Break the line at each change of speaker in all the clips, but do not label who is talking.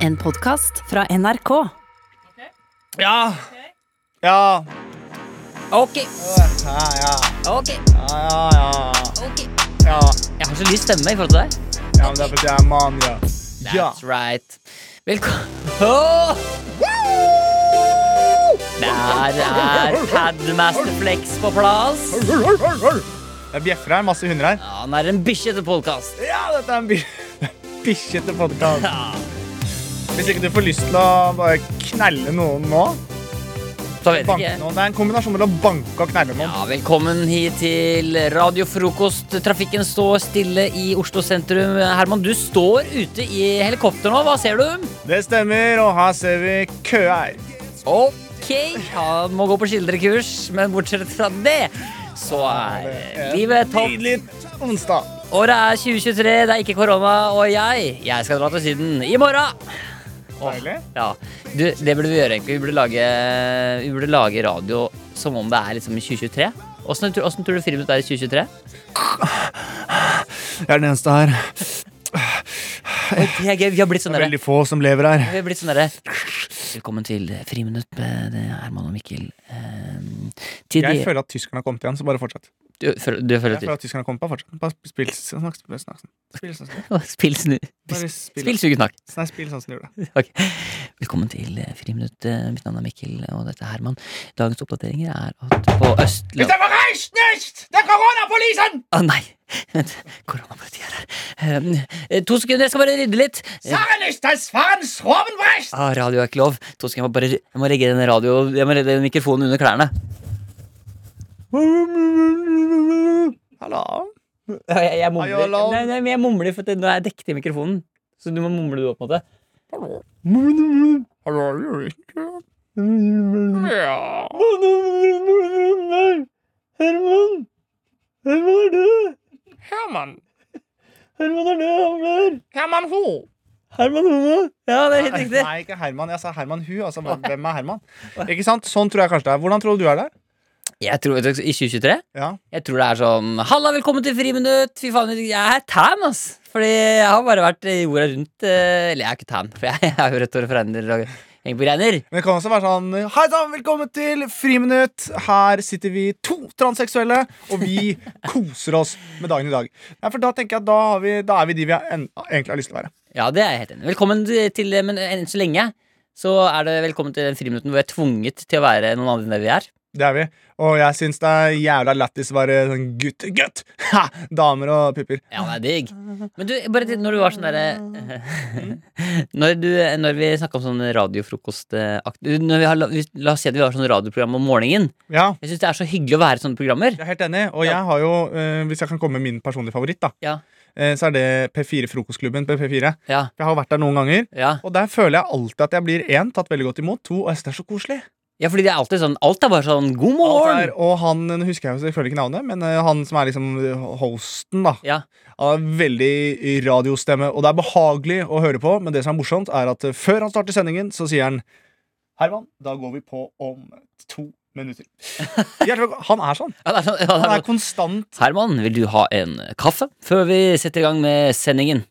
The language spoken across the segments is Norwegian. En podkast fra NRK.
Ja. Ja.
Ok,
Ja, ja.
ok,
Ja, ja,
ok
ja.
Jeg har så lys stemme i forhold til deg
Ja, men det er fordi jeg er mann, ja. Ja.
That's right Velkommen Åh! Der er Padmaster Flex på plass
Jeg bjeffer her. Masse hunder her.
Ja, Han er en bikkje til podcast
Ja, dette er en bi- bikkjete podkast.
Ja,
Hvis ikke du får lyst til å bare knelle noen nå
så vet jeg
Banke
ikke
noen. Det er en kombinasjon mellom banke og knelle noen.
ja, velkommen hit til Radio Frokost Trafikken står stille i Oslo sentrum Herman, du står ute i helikopter nå Hva ser du?
Det stemmer, og her ser vi køer.
Ok, han må gå på skildrekurs Men bortsett fra det Så er eh, livet topp
Nydelig onsdag.
Året er 2023, det er ikke korona, og jeg Jeg skal dra til Syden i morgen! Åh,
Deilig.
ja. Du, det burde vi gjøre, egentlig. Vi burde lage, vi burde lage radio som om det er liksom i 2023. Åssen tror, åssen tror du friminuttet er i 2023?
Jeg er den eneste her.
Oi, det er gøy, vi har blitt sånn derre
Veldig få som lever her.
Vi har blitt sånn derre Velkommen til Friminutt med det er Herman og Mikkel. Ehm, Til
Jeg
de
føler at tyskerne har kommet igjen, så bare fortsett.
Du, føler- du føler
Jeg føler at tyskerne kommer på fortsatt. Bare spill snakk, spill snakk. Spill snakk.
at Spill snu...
Bare spill.
Spill sugesnakk.
Nei, spill sånn som du gjorde det.
Ok. Velkommen til eh, Friminutt. Eh, Mitt navn er Mikkel, og dette er Herman. Dagens oppdateringer er at på Østland...
var reist nicht! Det er koronapolisen!
Å nei! Vent, koronapolitiet er her. Um, eh, to sekunder, jeg skal bare rydde litt. Eh,
nicht, das waren Schrobenbrecht!
ah, radio er ikke lov. To sekunder, jeg må bare jeg må legge den radio Jeg må legge den mikrofonen under klærne.
Hallo.
Jeg, jeg
mumler. Are you alone?
Nei, nei, men jeg mumler, for det, nå er jeg dekket i mikrofonen. Så du må mumle, du òg, på en måte.
Hallo, gjør du ikke? Ja.
Herman! Herman
Herman.
er død! Herman er død, han blør!
Herman Ho.
Herman Homo! Ja, det er helt riktig.
Nei, ikke Herman. Jeg sa Herman Hu. Altså, hvem er Herman? Ikke sant? Sånn tror jeg kanskje det er. Hvordan tror du du er der?
Jeg tror, vet du, I 2023
Ja.
Jeg tror det er sånn Halla, velkommen til friminutt! Fy faen, jeg er tan, ass! Fordi jeg har bare vært i jorda rundt eh, Eller jeg er ikke tan, for jeg har jo rødt hår og fregner og henger på greiner.
Men det kan også være sånn Hei sann, velkommen til Friminutt! Her sitter vi to transseksuelle, og vi koser oss med dagen i dag. Nei, for da tenker jeg at da, har vi, da er vi de vi en, egentlig har lyst til å være.
Ja, det er jeg helt enig i. Velkommen til eh, Men enn så lenge så er det velkommen til den friminutten hvor jeg er tvunget til å være noen andre enn det vi er.
Det er vi. Og jeg syns det er jævla lættis å være sånn gutt, gutt! Ha! Damer og pupper.
Ja, det er digg. Men du, bare til, når du var sånn derre når, du- når vi snakka om sånn radiofrokostakt når vi har, la, vi- la oss si at vi har sånn radioprogram om morgenen.
Ja,
Jeg syns det er så hyggelig å være i sånne programmer.
jeg er helt enig. Og jeg har jo, eh, hvis jeg kan komme med min personlige favoritt, da,
Ja.
eh, så er det P4 Frokostklubben på P4.
Ja.
Jeg har vært der noen ganger.
Ja.
Og der føler jeg alltid at jeg blir én, tatt veldig godt imot. To, og jeg synes det er så koselig.
Ja, fordi det er alltid sånn Alt er bare sånn
Alt
'god morgen'.
er- og han nå husker jeg jo selvfølgelig ikke navnet, men eh, han som er liksom hosten, da.
Ja.
Han har veldig radiostemme, og det er behagelig å høre på, men det som er morsomt, er at eh, før han starter sendingen, så sier han Herman, da går vi på om to minutter. Hjertelig velkommen. Han er sånn.
Ja, det er sånn, ja,
Han
det er
er
sånn.
konstant
Herman, vil du ha en kaffe før vi setter i gang med sendingen?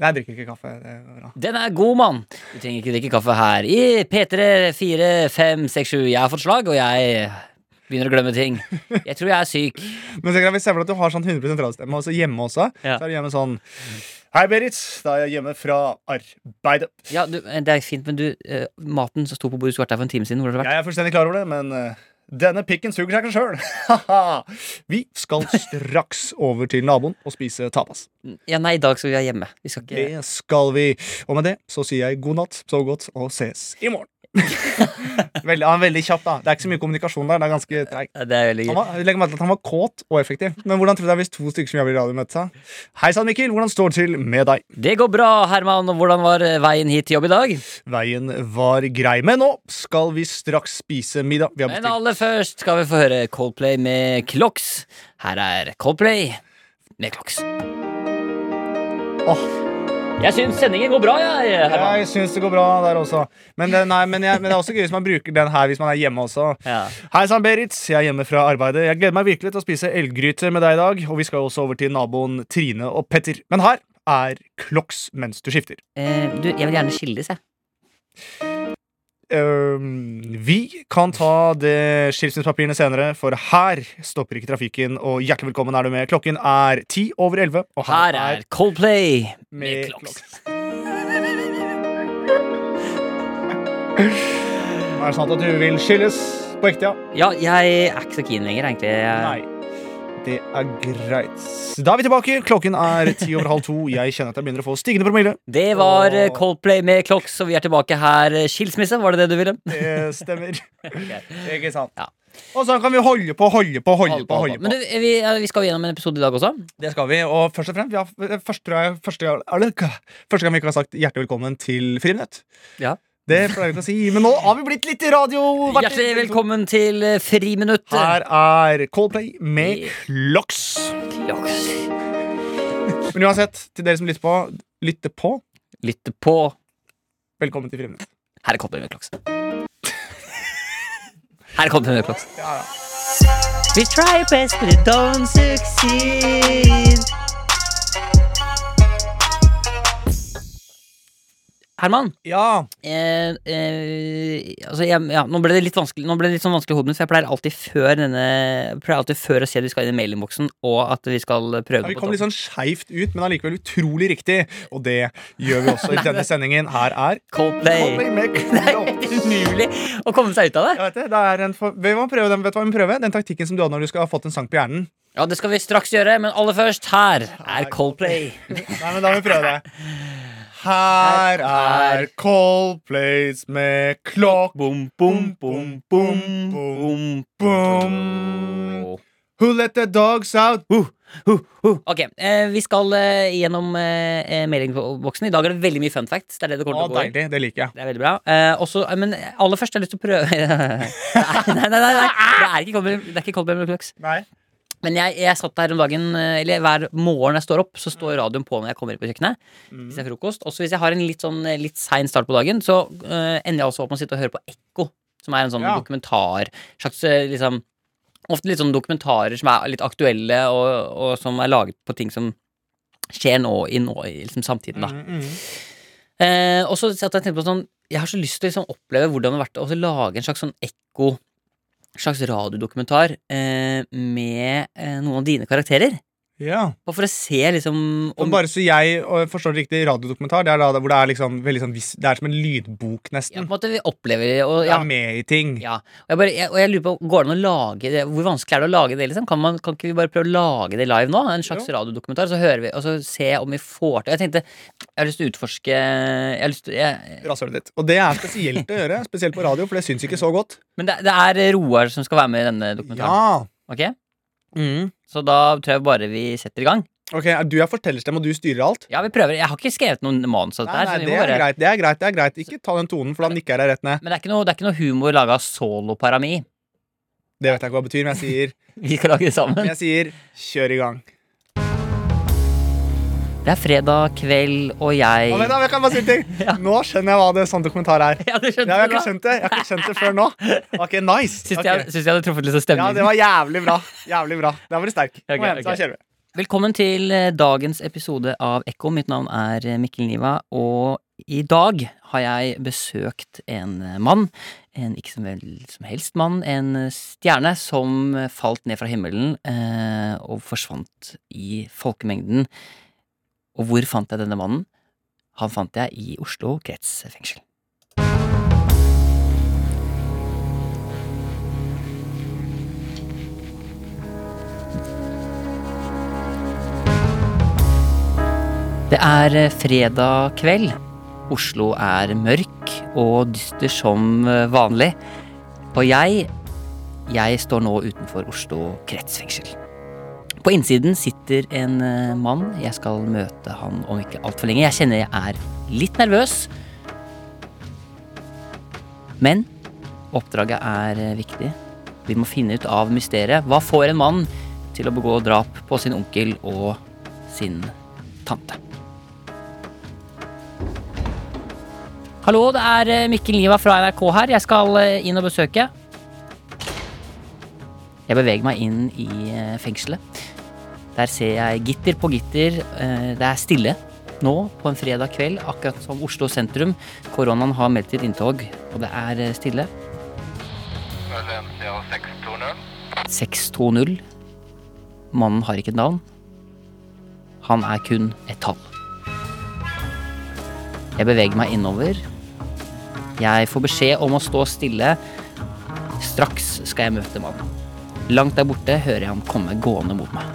Nei, jeg drikker ikke kaffe. Det går bra.
Den er god, mann! Du trenger ikke drikke kaffe her. I P3 4, 5, 6, 7 Jeg har fått slag, og jeg begynner å glemme ting. Jeg tror jeg er syk.
Men så kan vi se for deg at du har sånn 100 radiostemme, og så hjemme også.
Ja.
Så er du hjemme sånn Hei, Berit. Da er jeg hjemme fra arbeidet.
Ja, du, Det er fint, men du, eh, maten som sto på bordet, skulle vært der for en time siden. Hvor har det vært?
Jeg er fullstendig klar over det, men eh, denne pikken suger seg ikke sjøl. vi skal straks over til naboen og spise tapas.
Ja, nei, i dag skal vi være hjemme. Vi skal ikke
Det skal vi. Og med det så sier jeg god natt, sov godt, og ses i morgen. veldig, han er veldig kjapp, da. Det er ikke så mye kommunikasjon der. Det er ganske treigt.
Ja, Det er veldig
Han
gøy.
var, legg merke til at han var kåt og effektiv. Men hvordan tror du det er hvis to stykker som jobber i radio, møtes? da? Hei sann, Mikkel. Hvordan står det til med deg?
Det går bra, Herman. Og hvordan var eh, veien hit til jobb i dag?
Veien var grei, men nå skal vi straks spise middag. Vi har
Men
bestilt
aller først skal vi få høre Coldplay med Clocks. Her er Coldplay med Clocks.
Åh,
Jeg syns sendingen går bra, jeg. Herman.
Jeg syns det går bra der også. Men det, nei, men, jeg, men det er også gøy hvis man bruker den her hvis man er hjemme også.
Ja.
Hei sann, Berit. Jeg er hjemme fra arbeidet. Jeg gleder meg virkelig til å spise elggryte med deg i dag. Og vi skal også over til naboen Trine og Petter. Men her er kloks mens du skifter.
Eh, du, jeg vil gjerne skilles, jeg.
Øhm, vi kan ta det skilsmissepapirene senere, for her stopper ikke trafikken. Og hjertelig velkommen er du med. Klokken er ti over elleve, og
Her er Coldplay med
med
Clocks.
Er det sant at du vil skilles på ekte, ja?
Ja, jeg er ikke så keen lenger, egentlig. Jeg,
Nei. Det er greit. Da er vi tilbake. Klokken er ti over halv to. Jeg kjenner at jeg begynner å få stigende promille.
det var eh,
Åh.
Coldplay med Clocks, og vi er tilbake her. Skilsmisse, var det det du ville?
Det stemmer. Ikke sant?
Ja.
Og sånn kan vi holde på, holde på, holde på. holde
Men
på.
du, vi, ja, vi skal jo gjennom en episode i dag også.
Det skal vi. Og først og fremst, vi har første, gang- første, gang- første gang vi ikke har sagt hjertelig velkommen til Friminutt.
Ja.
Det pleier vi ikke å si, men nå har vi blitt litt i radio. vært litt-
Hjertelig velkommen til eh, Friminutt.
Her er Coldplay med Clocks.
Clocks.
Men uansett, til dere som lytter på, lytter på
Lytt på.
velkommen til Friminutt.
Her er Coldplay med Clocks. Her er Coldplay med Clocks.
Ja, ja.
We try best, but it don't succeed. Herman,
ja.
eh, eh, altså jeg, ja, nå ble det litt vanskelig Nå ble det litt sånn vanskelig i hodet mitt, for jeg pleier alltid før denne jeg pleier alltid før å si at vi skal inn i mailinnboksen, og at vi skal
Ja,
prøve det
vi
på
kom litt
toppen.
sånn skeivt ut, men allikevel utrolig riktig. Og det gjør vi også i denne sendingen. Her er
Coldplay.
Coldplay med
Det
Clocks.
er umulig å komme seg ut av det.
Jeg vet det, det er en for... vi må prøve den, vet du hva vi må prøve? Den taktikken som du hadde når du skal ha fått en sang på hjernen.
Ja, det skal vi straks gjøre, men aller først, her er Coldplay.
Nei, men da må vi prøve det. Her er Coldplays med klokk
Bom, bom, bom, bom, bom,
Boom. Who let the dogs out?
Ok, eh, vi skal eh, gjennom eh, eh, mailinnboksen. I dag er det veldig mye fun facts. Det er det det
Å,
kommer til å gå i.
deilig. Det liker jeg.
Det er veldig bra. Eh, også, eh, men aller først har jeg lyst til å prøve nei, nei, nei, nei, nei. Det er ikke Coldplay- det er ikke Coldplay Blue Clocks.
Nei.
Men jeg, jeg satt her om dagen, eh, eller hver morgen jeg står opp, så står radioen på når jeg kommer inn på kjøkkenet. Hvis det er frokost. Også hvis jeg har en litt, sånn, eh, litt sein start på dagen, så eh, ender jeg også opp med å sitte og høre på Ekko, som er en sånn
Ja.
dokumentar. Slags eh, liksom Ofte litt sånn dokumentarer som er litt aktuelle, og, og som er laget på ting som skjer nå i nå, i liksom samtiden, da.
Mm, mm.
Eh, og så satt jeg og tenkte på sånn Jeg har så lyst til å liksom oppleve hvordan det har vært å også lage en slags sånn ekko en Slags radiodokumentar eh, med eh, noen av dine karakterer.
Ja.
Bare for å se liksom
Om...
om
Bare så jeg og forstår det riktig, radiodokumentar Det er da hvor det er liksom veldig sånn vis- Det er som en lydbok,
ja, på
nesten.
en måte vi opplever og,
Jeg
ja,
er med i ting.
ja. Og, jeg bare, jeg, og jeg lurer på, går det an å lage det? Hvor vanskelig er det å lage det? liksom? Kan, man, kan ikke vi bare prøve å lage det live nå? En slags
Jo.
radiodokumentar, så hører vi, og så se om vi får til Jeg tenkte, jeg har lyst til å utforske jeg har lyst til, jeg,
Rasshølet ditt. Og det er spesielt å gjøre, spesielt på radio, for det syns ikke så godt.
Men det, det er Roar som skal være med i denne dokumentaren.
Ja.
Ok?
Mm.
Så da tror jeg bare vi setter i gang.
Ok, er Du er fortellerstem, og du styrer alt?
Ja, vi prøver. Jeg har ikke skrevet noen manus. av dette
Nei,
her,
nei,
så vi
det
må
er
sånn, bare...
greit. det er greit, det er greit Ikke ta den tonen, for da nikker jeg deg rett ned.
Men det er ikke noe, det er ikke noe humor laga av soloparami.
Det vet jeg ikke hva det betyr, men jeg sier,
Vi skal lage det sammen.
men jeg sier kjør i gang.
Det er fredag kveld, og jeg
Og vent da, jeg kan bare si en
Ja.
ting Nå skjønner jeg hva det sånn dokumentar er.
Ja, du
Ja,
skjønte
jeg har
det
ikke
da.
skjønt det Jeg har ikke skjønt det før nå. Ok, nice.
Syns
Ok.
jeg, syns jeg hadde truffet litt sånn av
Ja,
stemningen.
det var jævlig bra. Jævlig bra. Der var du sterk. Kom
Ok,
igjen, da
ok.
kjører vi.
Velkommen til eh, dagens episode av Ekko. Mitt navn er eh, Mikkel Niva, og i dag har jeg besøkt en eh, mann. En ikke som, vel, som helst mann. En eh, stjerne som eh, falt ned fra himmelen eh, og forsvant i folkemengden. Og hvor fant jeg denne mannen? Han fant jeg i Oslo kretsfengsel. Det er eh, fredag kveld. Oslo er mørk og dyster som eh, vanlig. Og jeg, jeg står nå utenfor Oslo kretsfengsel. På innsiden sitter en eh, mann. Jeg skal møte han om ikke altfor lenge. Jeg kjenner jeg er litt nervøs. Men oppdraget er eh, viktig. Vi må finne ut av mysteriet. Hva får en mann til å begå drap på sin onkel og sin tante? Hallo, det er eh, Mikkel Niva fra NRK her. Jeg skal eh, inn og besøke. Jeg beveger meg inn i eh, fengselet. Der ser jeg gitter på gitter. eh, Det er stille. nå på en fredag kveld, akkurat som Oslo sentrum. Koronaen har meldt sitt inntog, og det er eh, stille. 620. Mannen har ikke et navn. Han er kun et tall. Jeg beveger meg innover. Jeg får beskjed om å stå stille. Straks skal jeg møte mannen. Langt der borte hører jeg ham komme gående mot meg.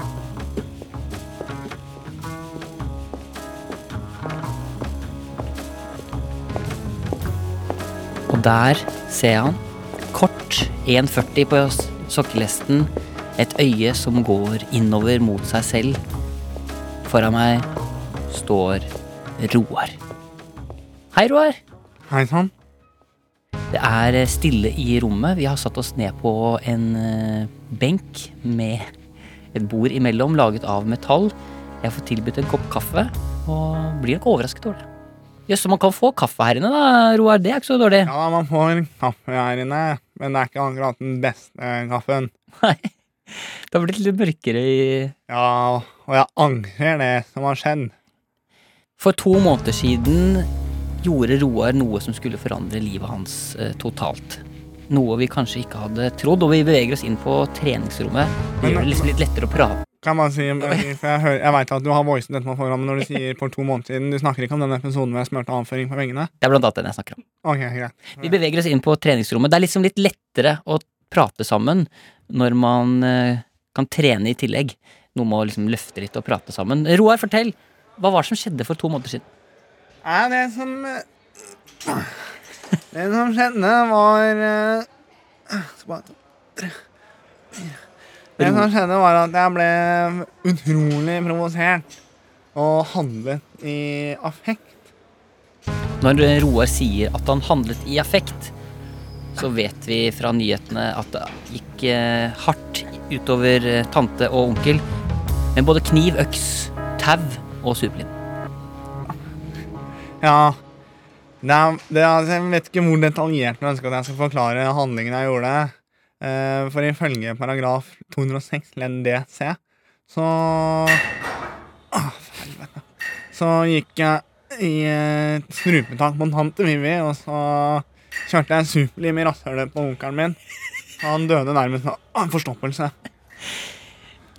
Og der ser jeg han. Kort, 1,40 på s- sokkelesten. Et øye som går innover mot seg selv. Foran meg står Roar. Hei, Roar.
Hei sann.
Det er eh, stille i rommet. Vi har satt oss ned på en eh, benk med et bord imellom, laget av metall. Jeg får tilbudt en kopp kaffe, og blir nok overrasket over det. Jøss, man kan få kaffe her inne, da, Roar. Det er ikke så dårlig.
Ja, man får kaffe her inne, men det er ikke akkurat den beste eh, kaffen.
Nei. Det har blitt litt mørkere i
Ja, og jeg angrer det som har skjedd.
For to måneder siden gjorde Roar noe som skulle forandre livet hans eh, totalt. Noe vi kanskje ikke hadde trodd, og vi beveger oss inn på treningsrommet. Det gjør det liksom litt lettere å prate.
Kan jeg bare si, for jeg, hører- jeg veit at du har voicen dette programmet når du sier for to måneder siden. Du snakker ikke om den episoden hvor jeg smurte avføring på veggene?
Det er blant annet den jeg snakker om.
Ok, greit.
Vi beveger oss inn på treningsrommet. Det er liksom litt lettere å prate sammen når man eh, kan trene i tillegg. Noe med å liksom løfte litt og prate sammen. Roar, fortell! Hva var det som skjedde for to måneder siden?
Nei, det som Det som skjedde, var eh, så bare- Det som skjedde, var at jeg ble utrolig provosert og handlet i affekt.
Når eh, Roar sier at han handlet i affekt, så vet vi fra nyhetene at det gikk eh, hardt utover eh, tante og onkel med både kniv, øks, tau og superlim.
Ja. Det er, det er, altså, jeg vet ikke hvor detaljert du ønsker at jeg skal forklare handlingen jeg gjorde. Eh, For ifølge paragraf 206 ledd d c, så Åh, for helvete. Så gikk jeg i eh, strupetak på tante Vivi, og så kjørte jeg superlim i rasshølet på onkelen min. Han døde nærmest av av forstoppelse.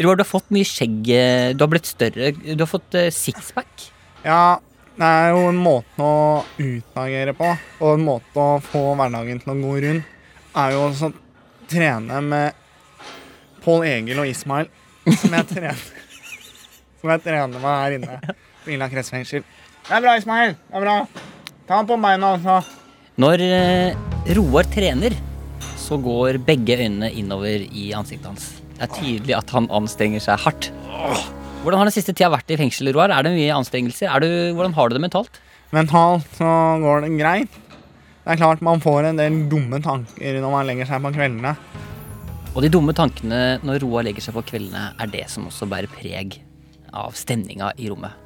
Roar, du har fått mye skjegg. eh, Du har blitt større. Du har fått eh, sixpack.
Ja, det er jo en måte å utagere på, og en måte å få hverdagen til å gå rundt, er jo også å trene med Pål Egil og Ismail, som jeg trener, som jeg trener med her inne på Ila kretsfengsel. Det er bra, Ismail. Det er bra. Ta han på beina, altså.
Når eh, Roar trener, så går begge øynene innover i ansiktet hans. Det er tydelig at han anstrenger seg hardt. Hvordan har den siste tida vært i fengsel, Roar? Er det mye anstrengelser? Er du, hvordan har du det mentalt?
Mentalt så går det greit. Det er klart man får en del dumme tanker når man legger seg på kveldene.
Og de dumme tankene når Roar legger seg på kveldene, er det som også bærer preg av stemninga i rommet.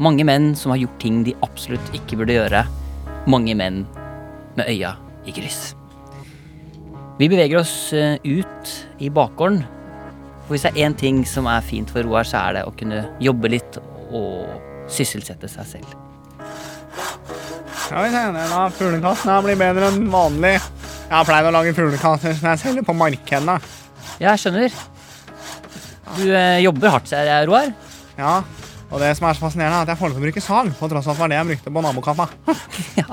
Mange menn som har gjort ting de absolutt ikke burde gjøre. Mange menn med øya i kryss. Vi beveger oss eh, ut i bakgården. For hvis det er én ting som er fint for Roar, så er det å kunne jobbe litt og sysselsette seg selv.
Ja, vi ser det da. Fuglekassen her blir bedre enn vanlig. Jeg har pleid å lage fuglekasser som jeg selger på markedene.
Ja, jeg skjønner. Du eh, jobber hardt, ser jeg, Roar.
Ja, og det som er så fascinerende, er at jeg får lov til å bruke sag, på tross av at det var det jeg brukte på nabokaffa.
Ja.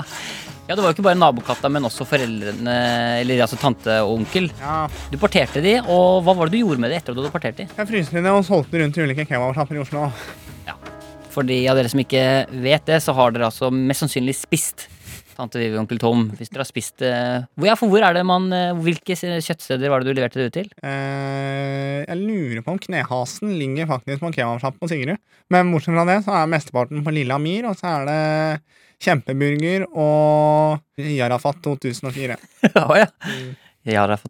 ja, det var jo ikke bare nabokatta, men også foreldrene, eller altså tante og onkel.
Ja,
Du parterte de, og hva var det du gjorde med de etter at du hadde partert de?
jeg fryste det og solgte rundt til ulike kebabsjapper i Oslo.
Ja. For de av dere som ikke vet det, så har dere altså mest sannsynlig spist tante Vivi og onkel Tom. Hvis dere har spist eh, hvor, ja, for hvor er det man, eh, Hvilke kjøttsteder var det du leverte det ut til?
Eh, jeg lurer på om knehasen ligger faktisk på en kebabsjapp på Sigrud. Men bortsett fra det, så er mesteparten på Lilla Myr, og så er det Kjempeburger og Jarafat 2004.
Å ja. Mm. Ja, det er fra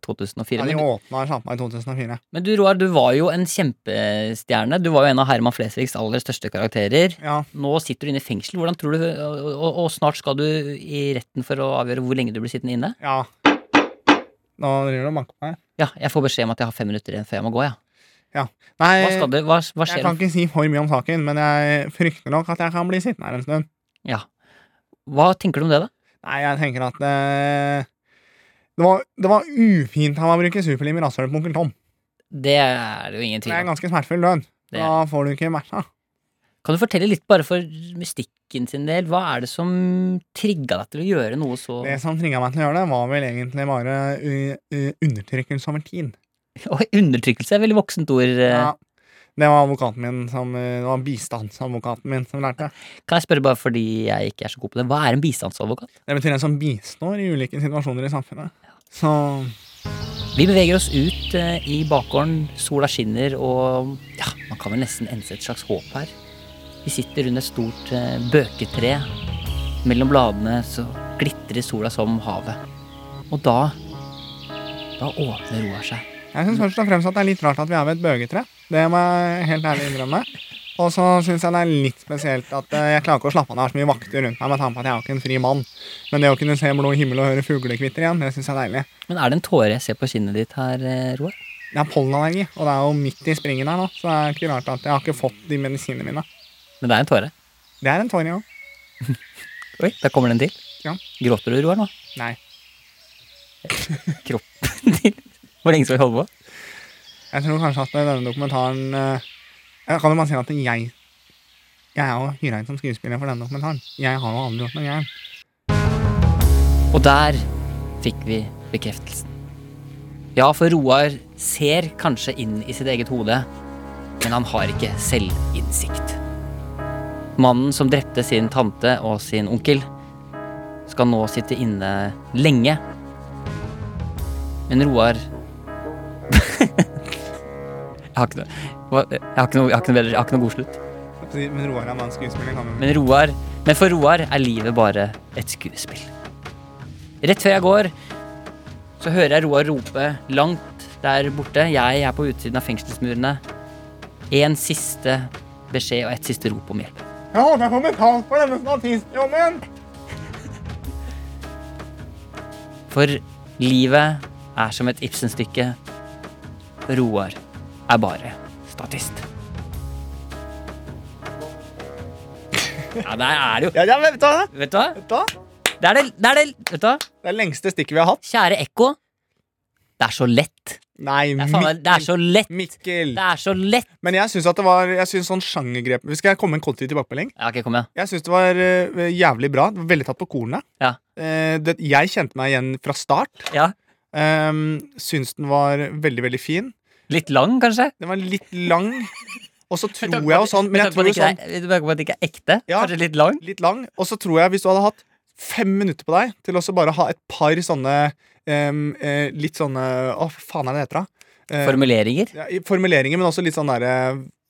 Ja,
2004.
de
Men,
åpna sjappa i 2004.
men du Roar, du var jo en kjempestjerne. Du var jo en av Herman Flesvigs aller største karakterer.
Ja,
Nå sitter du inne i fengsel. Hvordan tror du, og, og, og snart skal du i retten for å avgjøre hvor lenge du blir sittende inne.
ja. Nå driver du og banker på meg.
Ja, Jeg får beskjed om at jeg har fem minutter igjen før jeg må gå. Ja.
Nei,
Hva skal
jeg
det? Hva, hva skjer?
Eh, kan ikke si for mye om saken, men jeg frykter nok at jeg kan bli sittende her en stund.
Ja. Hva tenker du om det, da?
Nei, jeg tenker at eh, det var, det var ufint av meg å bruke superlim i rasshølet på onkel Tom.
Det er det jo ingen
Det er
tvil
en
om.
ganske smertefull død.
Det
Da får du ikke matcha.
Kan du fortelle litt, bare for mystikken sin del, hva er det som trigga deg til å gjøre noe så
Det som trigga meg til å gjøre det, var vel egentlig bare u- u- undertrykkelse over tid.
Oi, Undertrykkelse er et veldig voksent ord. eh.
Ja. Det var advokaten min som, eh, det var bistandsadvokaten min som lærte.
Kan jeg spørre, bare fordi jeg ikke er så god på det, hva er en bistandsadvokat?
Det betyr en som bistår i ulike situasjoner i samfunnet. Så
Vi beveger oss ut eh, i bakgården, sola skinner, og ja, man kan vel nesten ense et slags håp her. Vi sitter under et stort eh, bøketre. Mellom bladene så glitrer sola som havet. Og da Da åpner roa seg.
jeg syns først og fremst at det er litt rart at vi er ved et bøgetre. Det må jeg helt ærlig innrømme. Og så syns jeg det er litt spesielt at eh, jeg klarer ikke å slappe av når det er så mye vakter rundt meg med tanke på at jeg er jo ikke en fri mann. Men det å kunne se blå himmel og høre fuglekvitter igjen, det syns jeg er deilig.
Men er det en tåre jeg ser på kinnet ditt her, eh, Roar?
Jeg har pollenallergi, og det er jo midt i springen her nå, så det er ikke rart at jeg har ikke fått de medisinene mine.
Men det er en tåre.
Det er en tåre, ja.
Oi, der kommer den til.
Ja.
Gråter du, Roar, nå?
Nei.
Kroppen din. Hvor lenge skal vi holde på?
Jeg tror kanskje at denne dokumentaren eh, Jeg kan jo bare si at jeg Jeg er jo hyra inn som skuespiller for denne dokumentaren. Jeg har jo aldri gjort noe gærent.
Og der fikk vi bekreftelsen. Ja, for Roar ser kanskje inn i sitt eget hode, men han har ikke selvinnsikt. Mannen som drepte sin tante og sin onkel, skal nå sitte inne lenge. Men Roar Jeg har ikke noe hva- Jeg har ikke noe, jeg har ikke noe, bedre- jeg har ikke noe god slutt.
Men Roar er bare en skuespiller. Kan vi-
Men, Roar, men for Roar er livet bare et skuespill. Rett før jeg går, så hører jeg Roar rope langt der borte. Jeg er på utsiden av fengselsmurene. En siste beskjed og et siste rop om hjelp.
Jeg håper jeg får betalt for denne statistjobben!
For livet er som et Ibsen-stykke. Roar er bare statist. Ja, der er det jo
Ja, ja, vet du hva?
Vet du hva?
Vet du hva?
Det er det, det, er det Vet du hva?
Det er det lengste stikket vi har hatt.
Kjære Ekko. Det er så lett.
Nei,
Det er, faen, det er så lett.
Mikkel.
Det er så lett.
Men jeg syns at det var Jeg synes sånn sjangergrep Skal jeg komme med en kollektiv tilbakemelding?
Ja, ok, kom igjen.
Jeg syns det var eh, jævlig bra. Det var Veldig tatt på kornet.
Ja.
Eh, det, jeg kjente meg igjen fra start.
Ja.
Um, syns den var veldig, veldig fin.
Litt lang, kanskje?
Den var litt lang. Og så tror jeg jo sånn Men jeg tror jo sånn
Du merker på at det ikke er ekte?
Ja.
Kanskje litt lang?
litt lang. Og så tror jeg, hvis du hadde hatt fem minutter på deg til å så bare ha et par sånne em, eh, Litt sånne Å, hva faen er det det heter, da? Eh,
Formuleringer?
ja, i formuleringer, men også litt sånn derre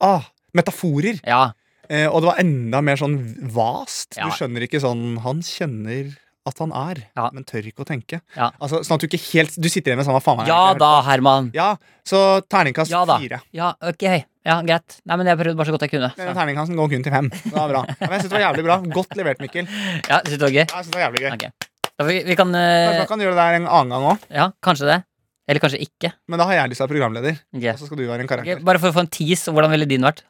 ah, Metaforer.
Ja.
Eh, og det var enda mer sånn vast.
Ja.
Du skjønner ikke sånn Han kjenner at han er,
Ja.
men tør ikke å tenke.
Ja.
Altså, sånn at du ikke helt Du sitter igjen med sånn hva faen er det
Ja
jeg har hørt
da,
på?»
Herman.
Ja, så terningkast
Ja da.
fire.
Ja, ok. Ja, greit. Nei, men jeg prøvde bare så godt jeg kunne.
Den
Så.
terningkasten går kun til fem. Det var bra. Ja, Men jeg synes det var jævlig bra. Godt levert, Mikkel. Ja,
Ja, synes du det var gøy?
Jeg synes det var jævlig gøy.
Ok. Da, vi, vi kan
Kanskje man
eh,
kan gjøre det der en annen gang òg,
Ja, kanskje det. Eller kanskje ikke.
men da har jeg lyst til å være programleder.
Ok.
Og så skal du være en
Ok,
karakter.
Bare for å få en tease, hvordan ville din vært?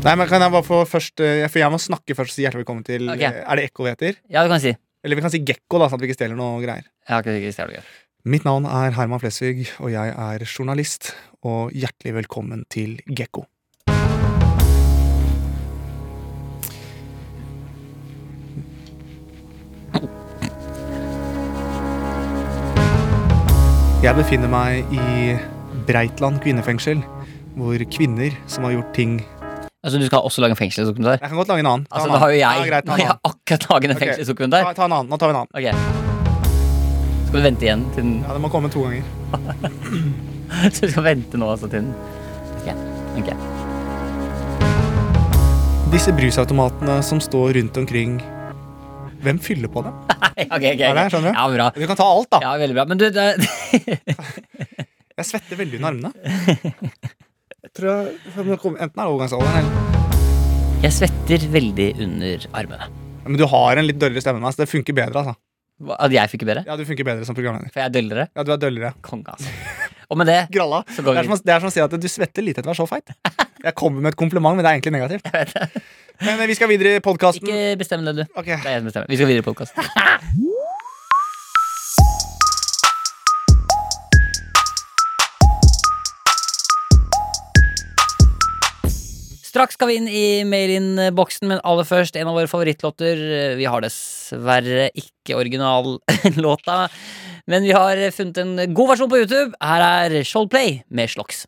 Nei, men Kan jeg bare få først eh, For jeg må snakke først og si hjertelig velkommen til
Ok.
eh, Er det Ekko vi heter?
Ja, du kan si.
Eller vi kan si Gekko, da, sånn at vi ikke stjeler noe greier.
Ja, ok, ok, det er gøy.
Mitt navn er Herman Flesvig, og jeg er journalist. Og hjertelig velkommen til Gekko. Jeg befinner meg i Breitland kvinnefengsel, hvor kvinner som har gjort ting Jeg
Altså, du skal også lage en fengselsdokumentar?
kan godt lage en annen. Ta
Altså,
en
da har jo
annen. Ja,
jeg,
greit,
nå
ta en
har jeg
annen.
akkurat laget en
Ok.
fengselsdokumentar.
Ta, ta en annen. Nå tar vi en annen.
Ok Skal du vente igjen til den
Ja, Det må komme to ganger.
Så du skal vente nå altså til den Ok, ok
Disse brusautomatene som står rundt omkring, hvem fyller på dem?
Nei, ok, ok, ok
Ja, det er, skjønner du?
Ja, bra
Du kan ta alt, da.
Ja, veldig bra Men du, det,
Jeg svetter veldig under armene. Jeg tror jeg, Enten er det overgangsalderen eller
Jeg svetter veldig under armene
Men du har en litt dårligere stemme enn meg, så det funker bedre. altså
Hva- At jeg funker bedre?
Ja, du funker bedre som programleder.
For jeg er døllere?
Ja, du er døllere.
Konge, altså. Og med det
Gralla.
så
Det
går
er, som,
vi
å- det er som å si at du svetter lite etter å være så feit. Jeg kommer med et kompliment, men det er egentlig negativt. Men eh, vi skal videre i podkasten.
Ikke bestem det, du. Det
Ok.
er jeg som bestemmer. Vi skal videre i podkasten. Straks skal vi inn i mail-in-boksen, men aller først en av våre favorittlåter. Vi har dessverre ikke originallåta, men vi har funnet en god versjon på YouTube. Her er Sholdplay med Sloks.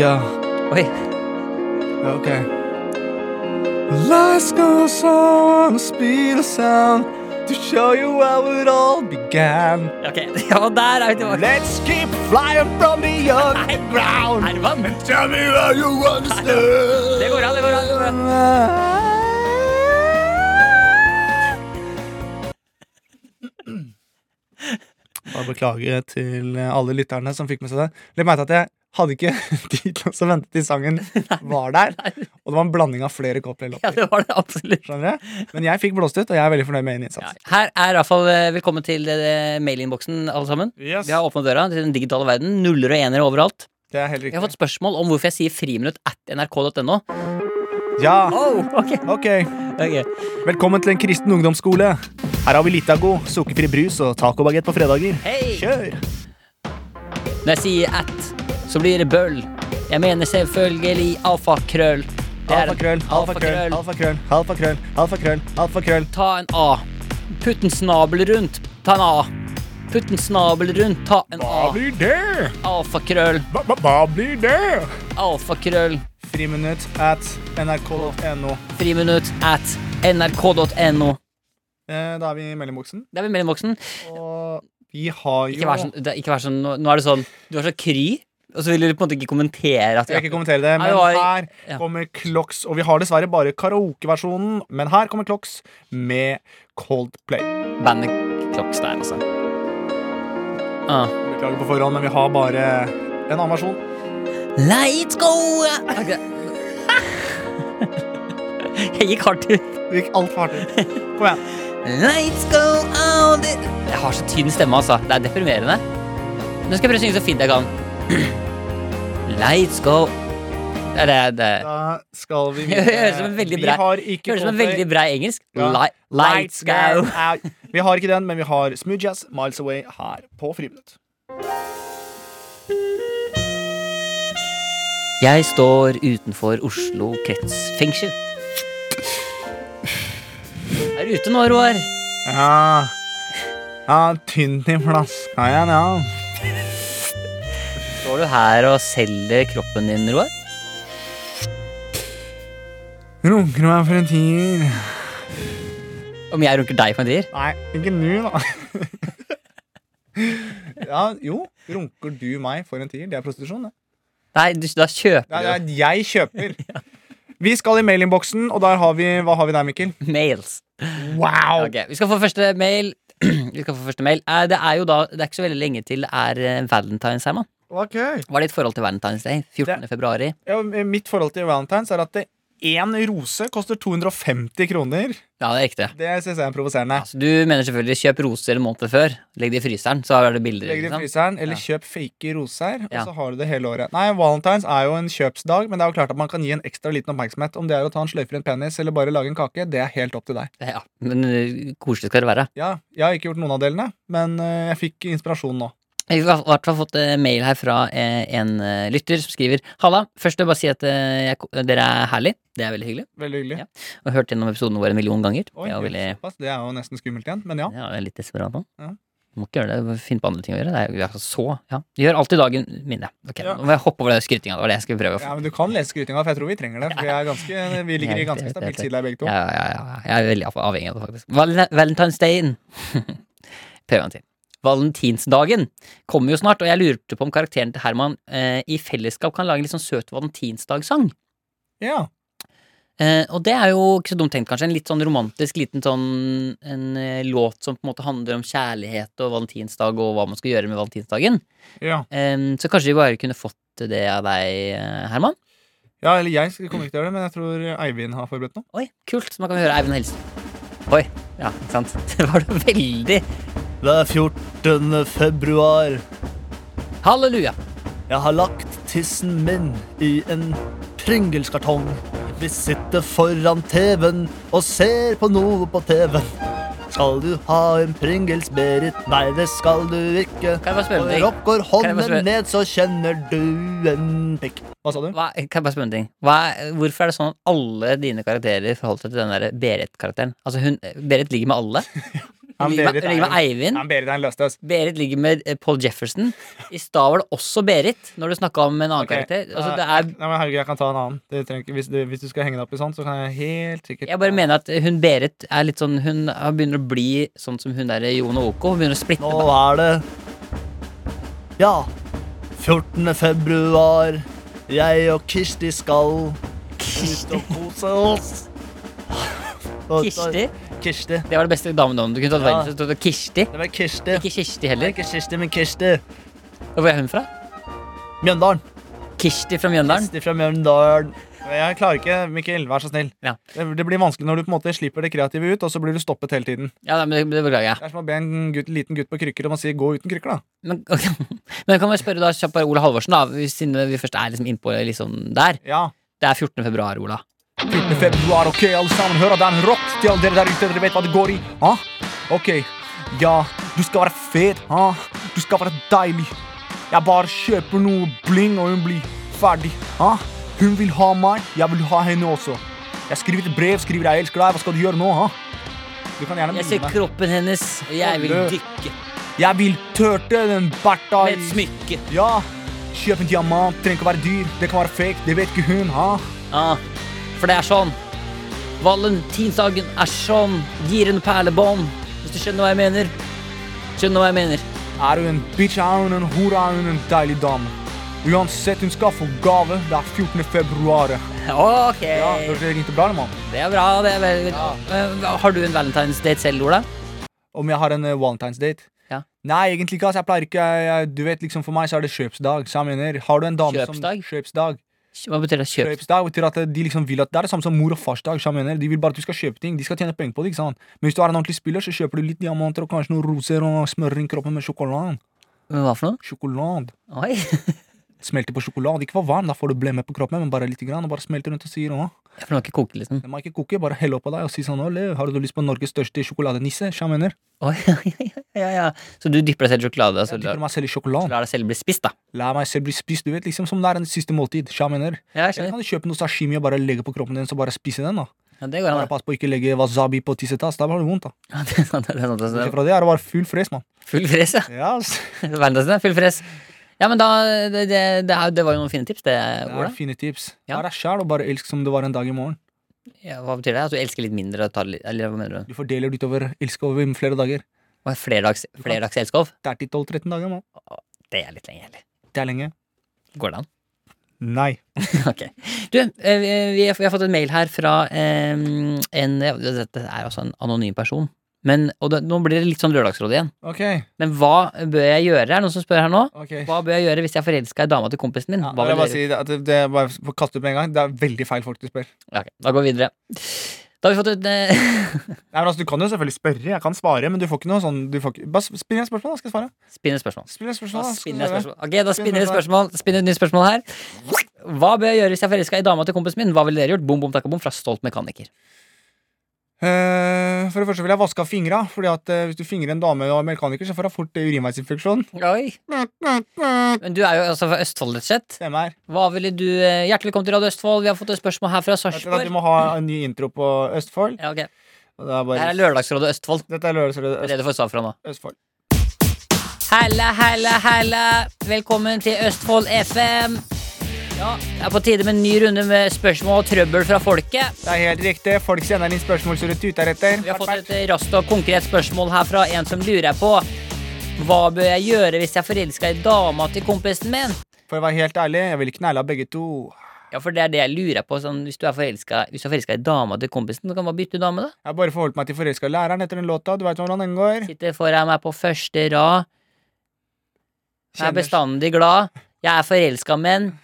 Ja,
Oi,
ok. Lights goes on, speed of sound, to show you how it all began.
ok. Ja, der er vi tilbake.
Let's keep flying from the underground.
Er det vann?
Tell me how you understand.
Det går an, det går an. Det går an.
Bare beklage til alle lytterne som fikk med seg det. Legg merke til at jeg hadde ikke tid til å vente til sangen var der. Og det var en blanding av flere
Ja,
Coldplay-låter.
det var det absolutt.
Skjønner jeg? Men jeg fikk blåst ut, og jeg er veldig fornøyd med egen
Ja.
innsats.
Her er i hvert fall eh, velkommen til eh, mailinnboksen, alle sammen. Vi har åpna døra til den digitale verden. Nuller og enere overalt.
Det er helt
Jeg har
riktig.
fått spørsmål om hvorfor jeg sier friminutt at nrk.no.
Ja,
Oh, ok,
ok.
ok.
Velkommen til en kristen ungdomsskole. Her har vi Litago, sukkerfri brus og tacobagett på fredager.
Hei!
Kjør!
Når jeg sier at, så blir det bøll. Jeg mener selvfølgelig alfakrøll. Det er en
Alfakrøll, alfakrøll, alfakrøll, alfakrøll, alfakrøll, alfakrøll.
Ta en A. Putt en snabel rundt. Ta en A. Putt en snabel rundt. Ta en A.
blir det?
Alfakrøll.
Hva, hva, hva blir det?
Alfakrøll.
Friminutt at nrk.no.
Friminutt at nrk.no.
Eh, da er vi i mellomboksen,
Det er vel mellomboksen.
og vi har jo
Ikke vær sånn, det, er- ikke vær sånn nå, nå er det sånn Du er så kry, og så vil du på en måte ikke kommentere at
Jeg skal ikke kommentere det,
Nei,
men
det var-
her
ja.
kommer Clocks. Og vi har dessverre bare karaokeversjonen, men her kommer Clocks med Coldplay.
bandet Clocks der, altså. Ah.
Beklager på forhånd, men vi har bare en annen versjon.
Let's go! Ok. Jeg gikk hardt ut.
Det gikk altfor hardt ut. Kom igjen.
Let's go out Jeg har så tynn stemme, altså. Det er deprimerende. Nå skal jeg prøve å synge så fint jeg kan. Let's go Det er det, det.
Da skal vi
Det høres ut som en veldig
Vi
brei-
har ikke
høres ut som en
Coldplay.
veldig brei engelsk.
Ja.
Li Lights go.
out. Vi har ikke den, men vi har Smooth Jazz Miles Away her på Friminutt.
Jeg står utenfor Oslo kretsfengsel. Er du ute nå, Roar?
Ja, ja tynt i flaska igjen, ja.
Står du her og selger kroppen din, Roar?
Runker meg for en tier.
Om jeg runker deg for en tier?
Nei, ikke nå, da. ja, jo. Runker du meg for en tier? Det er prostitusjon, det.
Nei, du, da kjøper
Det er, det er jeg kjøper. Vi skal i mailinnboksen, og der har vi Hva har vi der, Mikkel?
du mails.
Wow!
Ok, Vi skal få første mail. Vi skal få første mail. Eh, Det er jo da, det er ikke så veldig lenge til det er eh, valentines her, mann. Hva er ditt forhold til valentines day? 14. februari.
Ja, mitt forhold til Valentine's er at det- én rose koster 250 kroner.
Ja, det er riktig.
Det syns jeg er provoserende.
Altså, du mener selvfølgelig kjøp roser en måned før. Legg det i fryseren, så er det bilder.
Legg det i
liksom.
fryseren, eller
Ja.
kjøp fake roser, og
Ja.
så har du det hele året. Nei, Valentines er jo en kjøpsdag, men det er jo klart at man kan gi en ekstra liten oppmerksomhet. Om det er å ta en sløyfe i en penis eller bare lage en kake, det er helt opp til deg.
Ja, Men eh, koselig skal det være.
Ja, Jeg har ikke gjort noen av delene, men eh, jeg fikk inspirasjon nå.
Vi har i hvert fall fått eh, mail her fra eh, en eh, lytter som skriver Halla, først vil jeg bare si at eh, jeg, ko- dere er herlig. Det er veldig hyggelig.
Veldig hyggelig.
Ja. Og hørt gjennom episoden vår en million ganger.
Oi,
det er jo veldig
såpass. Det er jo nesten skummelt igjen, men ja.
ja, jeg er litt desperat nå.
Ja.
Må ikke gjøre det. Finn på andre ting å gjøre. Det er jo altså så ja. Gjør alltid dagen mindre. Ok,
Ja.
Nå må jeg hoppe over den skrytinga. Det var det jeg skulle prøve å få.
ja. Men du kan lese skrytinga, for jeg tror vi trenger det. For vi, er ganske, vi ligger i
Jeg vet
ganske
det, jeg
stabilt
vet det.
side der, begge to.
Ja, ja, ja, ja. Jeg er veldig av- avhengig av det, faktisk. Val Valentinsdagen. Prøv en til. Valentinsdagen kommer jo snart, og jeg lurte på om karakteren til Herman eh, i fellesskap kan lage en litt sånn søt valentinsdagsang.
Ja.
Eh, og det er jo ikke så dumt tenkt, kanskje. En litt sånn romantisk liten sånn en eh, låt som på en måte handler om kjærlighet og valentinsdag og hva man skal gjøre med valentinsdagen.
ja.
Em, så kanskje vi bare kunne fått det av deg, eh, Herman?
Ja, eller jeg kommer ikke til å gjøre det, men jeg tror Eivind har forberedt noe.
Oi, kult. Så man kan høre Eivind Helsen. Oi. Ja, ikke sant. Det var da veldig
Det er 14. februar.
Halleluja.
Jeg har lagt tissen min i en Pringles-kartong. Vi sitter foran TV-en og ser på noe på TV-en. Skal du ha en Pringles, Berit? Nei, det skal du ikke.
Kan jeg bare spørre om
Når
ting?
opp
Kan
går
jeg bare
hånden
spørre-
ned, så kjenner du en pikk.
Hva sa du?
Hva, kan jeg bare spørre en ting? Hva, er- hvorfor er det sånn at alle dine karakterer forholder seg til den der Berit-karakteren? Altså, hun, Berit ligger med alle. Hun ligger med, hun ligger med Eivind.
Han Berit er en løstøs.
Berit ligger med eh, Paul Jefferson. I stad var det også Berit, når du snakka om en annen
Ok.
karakter. Altså,
Ja,
det er,
Nei, men herregud, jeg kan ta en annen. Det trenger, ikke- hvis, du, hvis du skal henge deg opp i sånt, så kan jeg helt sikkert
jeg bare mener at eh, hun Berit er litt sånn Hun har- begynner å bli sånn som hun der Jon og Oko. Hun begynner å splitte.
Nå er det Ja, 14. februar. Jeg og Kirsti skal ut og kose oss.
Kirsti.
Kirsti.
Det var det beste damenavnet du kunne tatt.
Ja.
verden, så stod det Kirsti.
Det var Kirsti.
Ikke Kirsti
Det er
heller.
ikke Kirsti, men Kirsti.
Hvor er hun fra?
Mjøndalen.
Kirsti fra Mjøndalen.
Kirsti fra Mjøndalen.
Jeg klarer ikke, Mikkel. Vær så snill.
Ja.
Det, det blir vanskelig når du på en måte slipper det kreative ut, og så blir du stoppet hele tiden.
Ja, nei, men det, det beklager jeg.
Det er som å be en gutt, liten gutt på krykker om å si 'gå uten krykker', da.
Men, men kan vi spørre da kjapt bare Ola Halvorsen, da, hvis- siden vi først er liksom innpå liksom der.
Ja.
Det er 14. februar, Ola.
14. februar, ok, alle sammen, hører den rock til alle dere der ute, dere vet hva det går i. Ha? Ok, ja, du skal være fet, ha? Du skal være deilig. Jeg bare kjøper noe bling, og hun blir ferdig. Ha? Hun vil ha meg, jeg vil ha henne også. Jeg skriver et brev, skriver jeg elsker deg, hva skal du gjøre nå, ha? Du kan gjerne
Jeg
mime
ser
meg.
kroppen hennes, og jeg vil
Olle.
dykke
Jeg vil tørte den berta i...
med et smykke.
Ja, kjøp en diamant, trenger ikke å være dyr, det kan være fake, det vet ikke hun, ha?
Ja, for det er sånn. Valentinsdagen er sånn. Gir en perlebånd. Hvis du skjønner hva jeg mener. Skjønner hva jeg mener.
Er hun en bitch, er hun en hore, er hun en deilig dame. Uansett, hun skal få gave. Det er 14. februar.
Ok.
Ja, hørte det ringte bra, mann.
Det er bra. det er veldig Eh, Har du en valentinsdate selv, Ola?
Om jeg har en eh, valentinsdate?
Ja.
Nei, egentlig ikke. ass. Jeg pleier ikke jeg, jeg, Du vet, liksom For meg så er det kjøpsdag. Så jeg mener, har du en dame
Kjøpsdag?
som Kjøpsdag?
Hva betyr det? Kjøp?
Kjøpsdag betyr at eh, de liksom vil at Det er det samme som mor og farsdag. Så jeg mener, de vil bare at du skal kjøpe ting. De skal tjene penger på det. ikke sant? Men hvis du er en ordentlig spiller, så kjøper du litt diamanter og kanskje noen roser og smører inn kroppen med sjokolade.
Hva for noe?
Sjokolade.
Oi.
Smelter på sjokolade. Ikke for varm, da får du blemme på kroppen, men bare lite grann. Og bare smelter rundt og sier åh.
For nå har ikke koke, liksom.
Den må ikke koke, bare helle oppå deg og si sånn Ole, har du lyst på Norges største sjokoladenisse? Sja, mener.
Oi, ja, ja. Så du dypper deg selv i sjokolade? Altså,
Jeg dypper meg selv i sjokoladen.
La deg selv bli spist, da.
La meg selv bli spist, du vet, liksom som det er en siste måltid. Sja, mener.
Ja, jeg
Eller
skjønner.
kan du kjøpe noe sashimi og bare legge på kroppen din, så bare spise den, da.
Ja, det går
Bare
an, da.
pass på å ikke legge wasabi på tissetass, da blir det vondt, da.
Ja, det er sant, det er sant, det
Bortsett
er sant.
fra det er det bare full fres, mann.
Full fres, ja.
Ja, ass.
Verdensdagen er full fres. Ja, men da Det, det, det, er- det var jo noen fine tips, det,
Det
Ola.
er fine tips.
Ja.
Vær deg sjæl og bare elsk som det var en dag i morgen.
Ja, hva betyr det? At du elsker litt mindre og tar litt Eller hva mener du?
Du fordeler det utover elsk over flere dager.
Og Flerdags, flerdags elskov?
10-12-13 dager, mann.
Det er litt lenge, eller?
Det er lenge.
Går det an?
Nei.
Ok. Du, eh, vi, vi har fått en mail her fra eh, en ja, Dette er altså en anonym person. Men, og det, nå blir det litt sånn Lørdagsrådet igjen.
Ok,
Men hva bør jeg gjøre? Er det noen som spør her nå?
ok.
Hva bør jeg gjøre hvis jeg er forelska i dama til kompisen min?
Ja,
Hva
da vil jeg
vil
bare
dere-
si det, at det, det er bare for å kaste ut med en gang. Det er veldig feil folk du spør.
Ja, ok, Da går vi videre. Da har vi fått et eh,
Nei, men altså, Du kan jo selvfølgelig spørre, jeg kan svare, men du får ikke noe sånn du får ikke, Bare sp- spinn et spørsmål, da skal jeg svare.
Spinn et spørsmål.
Spinn et spørsmål,
Da
da, skal jeg
spinner jeg et
svare.
spørsmål. Ok, da spinner jeg et spørsmål. Spinn et nytt spørsmål her. Hva bør jeg gjøre hvis jeg er forelska i dama til kompisen min? Hva ville dere gjort? Bom, bom, takka, bom fra Stolt mekaniker.
Eh, for det første vil jeg vaske av fingra. Fordi at eh, hvis du fingrer en dame og er mekaniker, så får hun fort eh, urinveisinfeksjon.
Oi. Men du er jo altså fra Østfold, rett og slett.
Stemmer.
Hva ville du eh, Hjertelig velkommen til Radio Østfold. Vi har fått et spørsmål her fra
Vet dere at
Sarpsborg.
Vi må ha en ny intro på Østfold.
Ja, ok.
Og Det er
Det
bare,
her er Lørdagsrådet Østfold.
dette er Lørdagsrådet Øst,
Rede for safran nå.
Østfold.
Halla, halla, halla. Velkommen til Østfold FM. Ja, Det er på tide med en ny runde med spørsmål og trøbbel fra folket.
Det er helt riktig. Folk sender inn spørsmål som du tuter etter.
Vi har fått et eh, raskt og konkret spørsmål her fra en som lurer på Hva bør jeg gjøre hvis jeg er forelska i dama til kompisen min?
For å være helt ærlig, jeg vil ikke næle av begge to.
Ja, for det er det jeg lurer på. Sånn, hvis du er forelska i dama til kompisen, så kan du bare bytte dame, da.
Jeg har bare forholdt meg til forelska læreren etter den låta. Du vet hvordan den går.
Sitter foran meg på første rad, jeg er
Kjenner
bestandig glad, jeg er forelska, men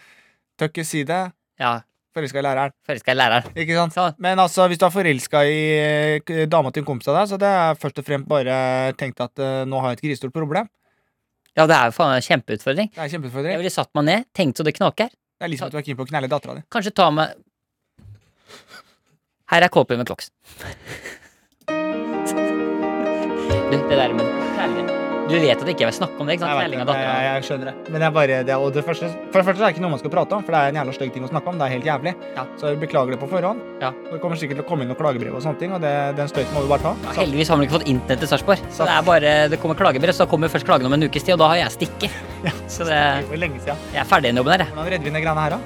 Tør ikke si det.
Ja,
Forelska i læreren.
Forelska i læreren.
Ikke sant?
Så-
Men altså, hvis du er forelska i eh, k- dama til en kompis av deg, så det er først og fremst bare tenkt at eh, nå har jeg et grisestort problem.
Ja, det er jo faen meg en kjempeutfordring.
Det er en
Jeg
kjempeutfordring.
ville satt meg ned, tenkt så det knaker.
Det er liksom at du er keen på å knelle dattera di.
Kanskje ta meg Her er KP med Clocks. Du, det der med kjærlighet Du vet at jeg ikke vil snakke om det, ikke sant?
Jeg,
Kjærling
vet
av
det,
datteren.
jeg, jeg skjønner det. Men jeg bare, det, er- og det første, for det første er det ikke noe man skal prate om, for det er en jævla stygg ting å snakke om. Det er helt jævlig.
Ja.
Så jeg beklager det på forhånd.
Ja.
Det kommer sikkert til å komme inn noen klagebrev og sånne ting, og det, den støyten må vi bare ta.
Ja, heldigvis har man ikke fått internett i Sarpsborg. Så
Sant.
det er bare, det kommer klagebrev, så da kommer først klagen om en ukes tid, og da har jeg stikket. Så det,
Det er jo lenge siden.
jeg er ferdig i den jobben her, jeg.
Hvordan redder vi de greiene her, da?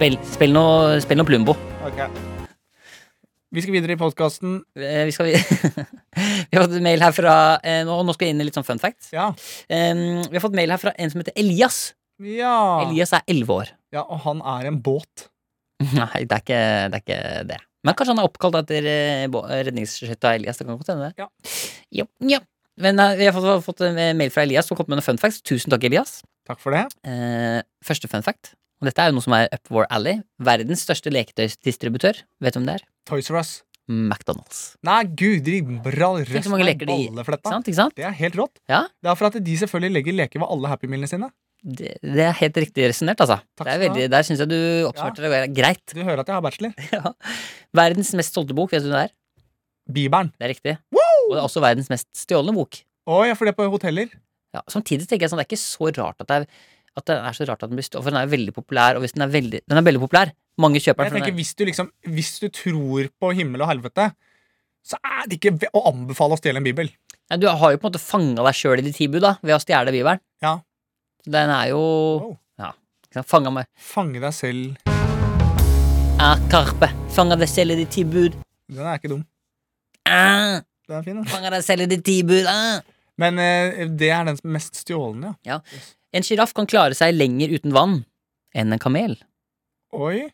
Spill, spill, noe, spill noe Plumbo.
Ok. Vi skal videre i podkasten.
Eh, Vi skal Vi har fått mail her fra eh, Nå nå skal jeg inn i litt sånn fun facts.
Ja.
Em, vi har fått mail her fra en som heter Elias.
Ja.
Elias er elleve år.
ja. Og han er en båt.
Nei, det er, ikke, det er ikke det. Men kanskje han er oppkalt etter eh, bå- redningsskøyta Elias. Det kan godt hende. det.
Ja.
Jo, ja. Men eh, vi har fått, fått en mail fra Elias som kom med noen fun facts. Tusen takk, Elias.
Takk for det.
Eh, første fun fact. Og dette er jo noe som er up our alley. Verdens største leketøysdistributør. Vet du hvem det er?
Toys R Us.
McDonald's.
Nei, guri bra
Tenk
røst
så mange
med
leker de Ikke
ballefletta.
sant? Ikke sant?
Det er helt rått.
Ja.
Det er for at de selvfølgelig legger leker ved alle Happy Mealene sine.
Det, det er helt riktig resonnert, altså.
Takk
Det er
skal du
veldig, der syns jeg du oppsummerte det greit.
Du hører at jeg har bachelor.
Ja. Verdens mest solgte bok, vet du det er?
Bibelen.
Det er riktig. Og det er også verdens mest stjålne bok.
Å, jeg får det på hoteller.
Ja, samtidig tenker jeg sånn, det er ikke så rart at det er at den er så rart at den blir stjålet, for den er jo veldig populær, og hvis den er veldig, den er veldig populær Mange
Jeg
kjøper den. for den
tenker
er-
hvis du liksom Hvis du tror på himmel og helvete, så er det ikke ve- å anbefale å stjele en bibel.
Nei, du har jo på en måte fanga deg sjøl i ditt tilbud, da, ved å stjele Bibelen.
Ja.
Den er jo
Wow.
Ikke sant? Fanga meg.
Fange deg selv.
Ah, Karpe. Fanga deg selv i ditt tilbud.
Den er ikke dum.
Ah,
Den er fin, den.
fanga deg selv i ditt tilbud. Ah.
Men eh, det er den som er mest stjålne, ja.
En sjiraff kan klare seg lenger uten vann enn en kamel.
Oi.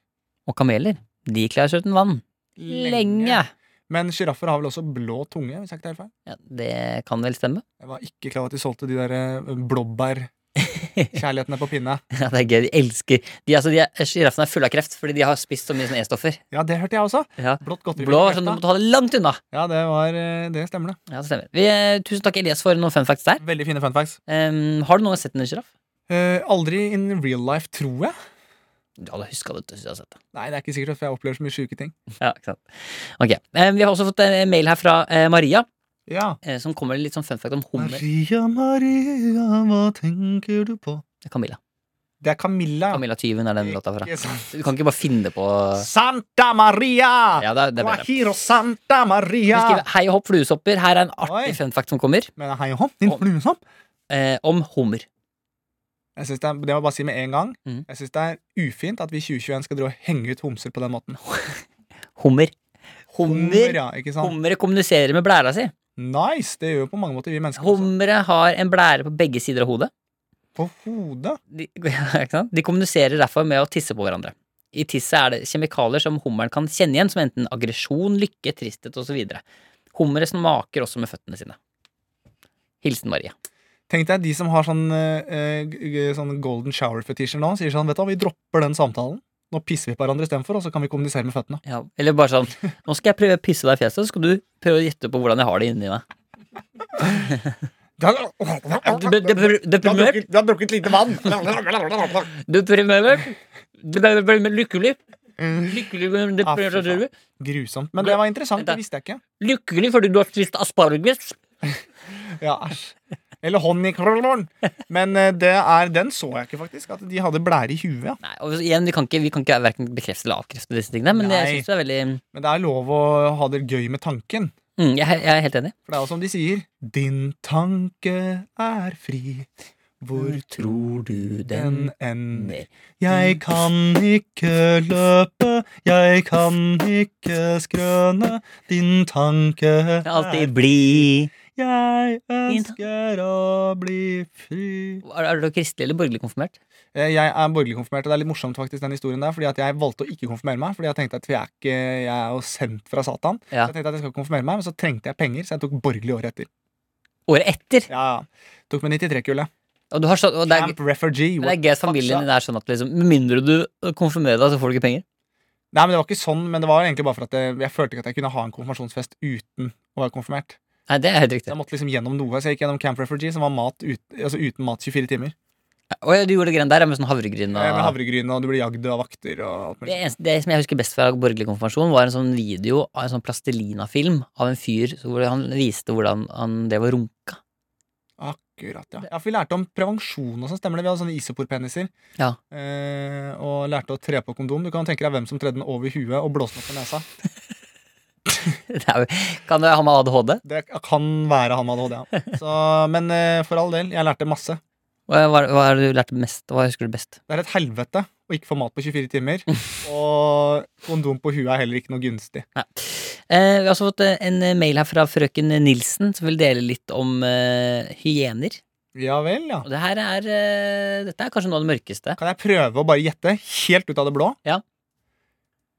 Og kameler, de klarer seg uten vann. Lenge.
Men sjiraffer har vel også blå tunge? hvis jeg ikke tar helt feil.
Ja, det kan vel stemme?
Jeg var ikke klar over at de solgte de der eh, blåbærkjærlighetene på pinne.
Ja, det er gøy. De elsker De, altså, de er- Sjiraffen er full av kreft fordi de har spist så mye sånne E-stoffer.
Ja, det hørte jeg også.
Ja.
Blått godteri.
Blå
fikk
er sånn du
krefta.
må ta det langt unna.
Ja, det var eh, Det stemmer, det.
Ja, det stemmer. Vi, eh, tusen takk, Elias, for noen fun facts der.
Veldig fine fun facts.
Em, har du noen gang sett en sjiraff?
Eh, aldri in real life, tror jeg.
Du hadde huska det. hvis du hadde sett det.
Nei, det er ikke sikkert, for jeg opplever så mye sjuke ting.
Ja, ikke sant. Ok, eh, Vi har også fått en mail her fra eh, Maria,
Ja.
eh, som kommer med litt sånn fun fact om hummer.
Maria, Maria, hva tenker du på?
Camilla.
Det er Camilla.
Camilla Tyven er den låta fra.
Ikke sant?
Du kan ikke bare finne det på
Santa Maria!
Ja, det er, det er bedre.
Guajiro Santa
Vi
Maria!
skriver 'Hei og hopp, fluesopper'. Her er en
Oi.
artig fun fact som kommer,
Men hei og hopp, din
Om-
fluesopp.
eh, om hummer.
Jeg synes det, er, det må jeg bare si med en gang.
Mhm.
Jeg syns det er ufint at vi i 2021 skal dra og henge ut homser på den måten.
Hummer.
Hummer,
Hummer.
ja, ikke sant?
Hummere kommuniserer med blæra si.
Nice! Det gjør jo på mange måter vi mennesker. også.
Hummere har en blære på begge sider av hodet.
På hodet.
De, ikke sant? de kommuniserer derfor med å tisse på hverandre. I tisset er det kjemikalier som hummeren kan kjenne igjen, som enten aggresjon, lykke, tristhet osv. Hummere smaker også med føttene sine. Hilsen Maria.
Tenk deg de som har sånn, eh, g- g- sånn golden shower-fetisjer nå, sier sånn Vet du hva, vi dropper den samtalen. Nå pisser vi på hverandre istedenfor, og så kan vi kommunisere med føttene.
Ja, eller bare sånn Nå skal jeg prøve å pisse deg i fjeset, så skal du prøve å gjette på hvordan jeg har det inni meg.
Du har
Deprimert?
drukket lite vann.
Deprimert? Lykkelig? Lykkelig men
Ah, fy
deprimert og
faen.
død?
Grusomt. Men det var interessant. Det
Vent
visste jeg ikke.
Lykkelig fordi du har spist asparges?
Ja, æsj. Eller honningkrollorn. Men eh, det er, den så jeg ikke, faktisk. At de hadde blære i huet. ja.
Nei, og igjen, vi kan ikke, vi kan ikke hverken bekrefte eller avkrefte disse tingene, men jeg
Nei.
syns det er veldig
Men det er lov å ha det gøy med tanken.
mm, jeg, jeg er helt enig.
For det er jo som de sier Din tanke er fri. Hvor
tror du
den ender. Jeg kan ikke løpe, jeg kan ikke skrøne. Din tanke er
Alltid bli
Jeg
Din tan-
ønsker å bli fri.
er, er du kristelig eller borgerlig konfirmert?
Eh, Jeg er borgerlig konfirmert, og det er litt morsomt faktisk den historien der, fordi at jeg valgte å ikke konfirmere meg. Fordi jeg tenkte at vi er ikke, jeg er jo sendt fra Satan.
Ja.
Så jeg tenkte at jeg skal ikke konfirmere meg, men så trengte jeg penger, så jeg tok borgerlig året etter.
Året etter?
Ja, ja. Tok med 93-kullet.
Og, du har så, og det er,
Camp refugee.
det
what
er gay familien din er sånn at liksom, med mindre du konfirmerer deg, så får du ikke penger.
Nei, men det var ikke sånn, men det var egentlig bare for at jeg, jeg følte ikke at jeg kunne ha en konfirmasjonsfest uten å være konfirmert.
Nei, det er helt
Så
riktig.
jeg måtte liksom gjennom noe. Så jeg gikk gjennom Camp Refugee, som var mat ut, altså uten mat 24 timer.
Å ja, du gjorde det greiene der ja, med sånn
Eh,
havregryn
Med
og
havregryn, og du blir jagd av vakter og alt
det,
mulig.
eneste, det som jeg husker best fra borgerlig konfirmasjon, var en sånn video av en sånn plastelina-film av en fyr så hvor han viste hvordan han det var runka.
Akkurat, ja. ja. For vi lærte om prevensjon og sånn, stemmer det? Vi hadde sånne isoporpeniser.
Ja.
Eh, og lærte å tre på kondom. Du kan tenke deg hvem som tredde den over huet og blåste den opp på nesa.
Det er, jo- kan det ha med ADHD?
Det kan være han med ADHD, ja. Så, men eh, for all del, jeg lærte masse.
Hva, hva, hva er det du lærte mest? Hva husker du best?
Det er et helvete å ikke få mat på 24 timer. Og kondom på huet er heller ikke noe gunstig.
Eh, vi har også fått eh, en eh, mail her fra frøken Nilsen, som vil dele litt om eh, hyener.
Ja vel, ja.
Og det her er, eh, dette er kanskje noe av det mørkeste.
Kan jeg prøve å bare gjette helt ut av det blå?
Ja.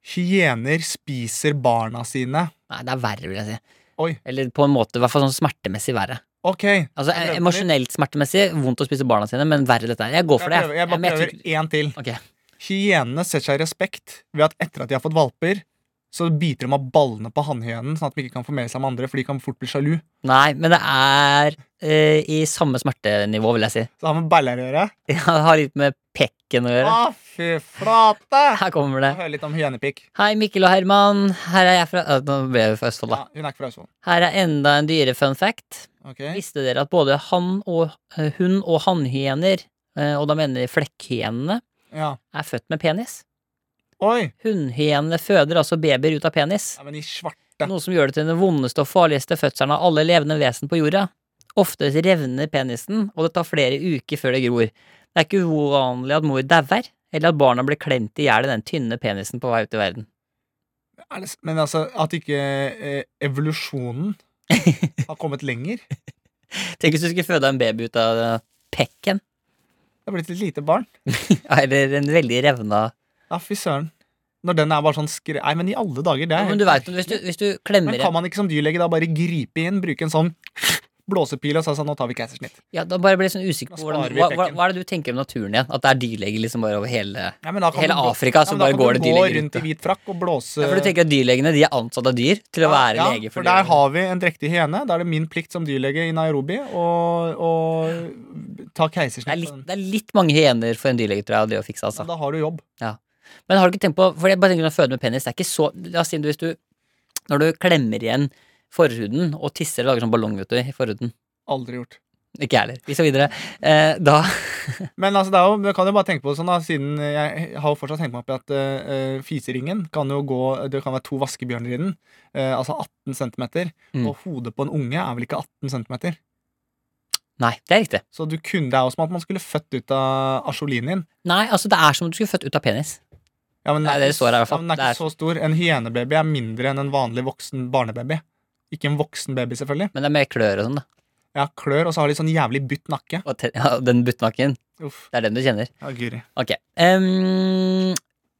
Hyener spiser barna sine.
Nei, det er verre, vil jeg si.
Oi.
Eller på en måte, i hvert fall sånn smertemessig verre.
Ok.
Altså
Jeg prøver
eh,
på
Emosjonelt smertemessig, vondt å spise barna sine, men verre dette her. Jeg går
Jeg,
for det.
prøver, jeg bare
men jeg
prøver
tror-
én til.
Ok.
Hyenene setter seg i respekt ved at etter at de har fått valper, så biter de av ballene på hannhyenen, sånn at de ikke kan formere seg med andre, for de kan fort bli sjalu.
Nei, men det er eh, i samme smertenivå, vil jeg si.
Så har vi bællerøre.
Det har litt med pekken å
Å,
gjøre.
fy flate!
Her kommer det.
Hør litt om hyenepikk.
Hei, Mikkel og Herman. Her er jeg fra eh, Nå ble jeg fra Østfold,
Ja,
da.
hun er ikke fra Østfold.
Her er enda en dyrefun fact.
Ok.
Visste dere at både han og, eh, hun og hannhyener, eh, og da mener de flekkhyenene,
Ja.
er født med penis?
Oi!
Hunnhyenene føder altså babyer ut av penis,
Nei, men i svarte.
noe som gjør det til den vondeste og farligste fødselen av alle levende vesen på jorda. Ofte revner penisen, og det tar flere uker før det gror. Det er ikke uvanlig at mor dauer, eller at barna blir klemt i hjel i den tynne penisen på vei ut i verden.
Er det, s- men altså, at ikke eh, evolusjonen har kommet lenger. Det
Tenk hvis du skulle føde en baby ut av eh, pekken,
har blitt et lite barn.
eller en veldig revna
Ja, fy søren. Når den er bare sånn skre... Nei, men i alle dager, det
ja,
er
Men du vet, hvis du, hvis du klemmer
Men
en
kan man ikke som dyrlege da bare gripe inn, bruke en sånn blåsepil og si sånn, nå tar vi keisersnitt?
Ja, da bare blir jeg sånn usikker
Da
på hvordan,
sparer vi
hva, hva,
pekken.
hva er det du tenker om naturen igjen? At det er dyrleger liksom bare over hele
Ja, men da
Hele
du gå-
Afrika, så
men da
bare
kan
går
du
det
gå
dyrleger ut,
rundt
da.
i hvit frakk og blåse
ja, For du tenker at dyrlegene de er ansatt av dyr til å være
ja,
lege
for
for
der
dyrlegene.
har vi en drektig hyene. Da er det min plikt som dyrlege i Nairobi å å ta
Det er,
keisersnitt. på
litt,
den.
det er litt mange hyener for en dyrlege tror jeg, å drive og fikse.
Ja,
Altså.
da har du jobb.
Men har du ikke tenkt på For jeg bare tenker å føde med penis Det er ikke så La oss si du, hvis du Når du klemmer igjen forhuden og tisser og lager sånn ballong vet du, i forhuden
Aldri gjort.
Ikke jeg heller. Vi skal videre. Eh, da
Men altså, det er jo, jeg kan jo bare tenke på det sånn da, siden jeg har jo fortsatt tenkt meg opp i at eh, eh, fiseringen kan jo gå Det kan være to vaskebjørner i den, eh, altså 18 cm.
Mm.
Og hodet på en unge er vel ikke 18 cm.
Nei, det er riktig.
Så du kunne det er jo som at man skulle født ut av asjolinien.
Nei, altså, det er som om du skulle født ut av penis.
Ja, men den
Nei, det
ikke
står her i hvert
s- ja,
fall.
men den er
Det
ikke så stor. En hyenebaby er mindre enn en vanlig voksen barnebaby. Ikke en voksen baby, selvfølgelig.
Men det er med klør og sånn, da.
Ja, klør, og så har de sånn jævlig butt nakke.
Og te ja, den buttnakken.
Uff.
Det er den du kjenner.
Ja, guri.
Ok. ehm,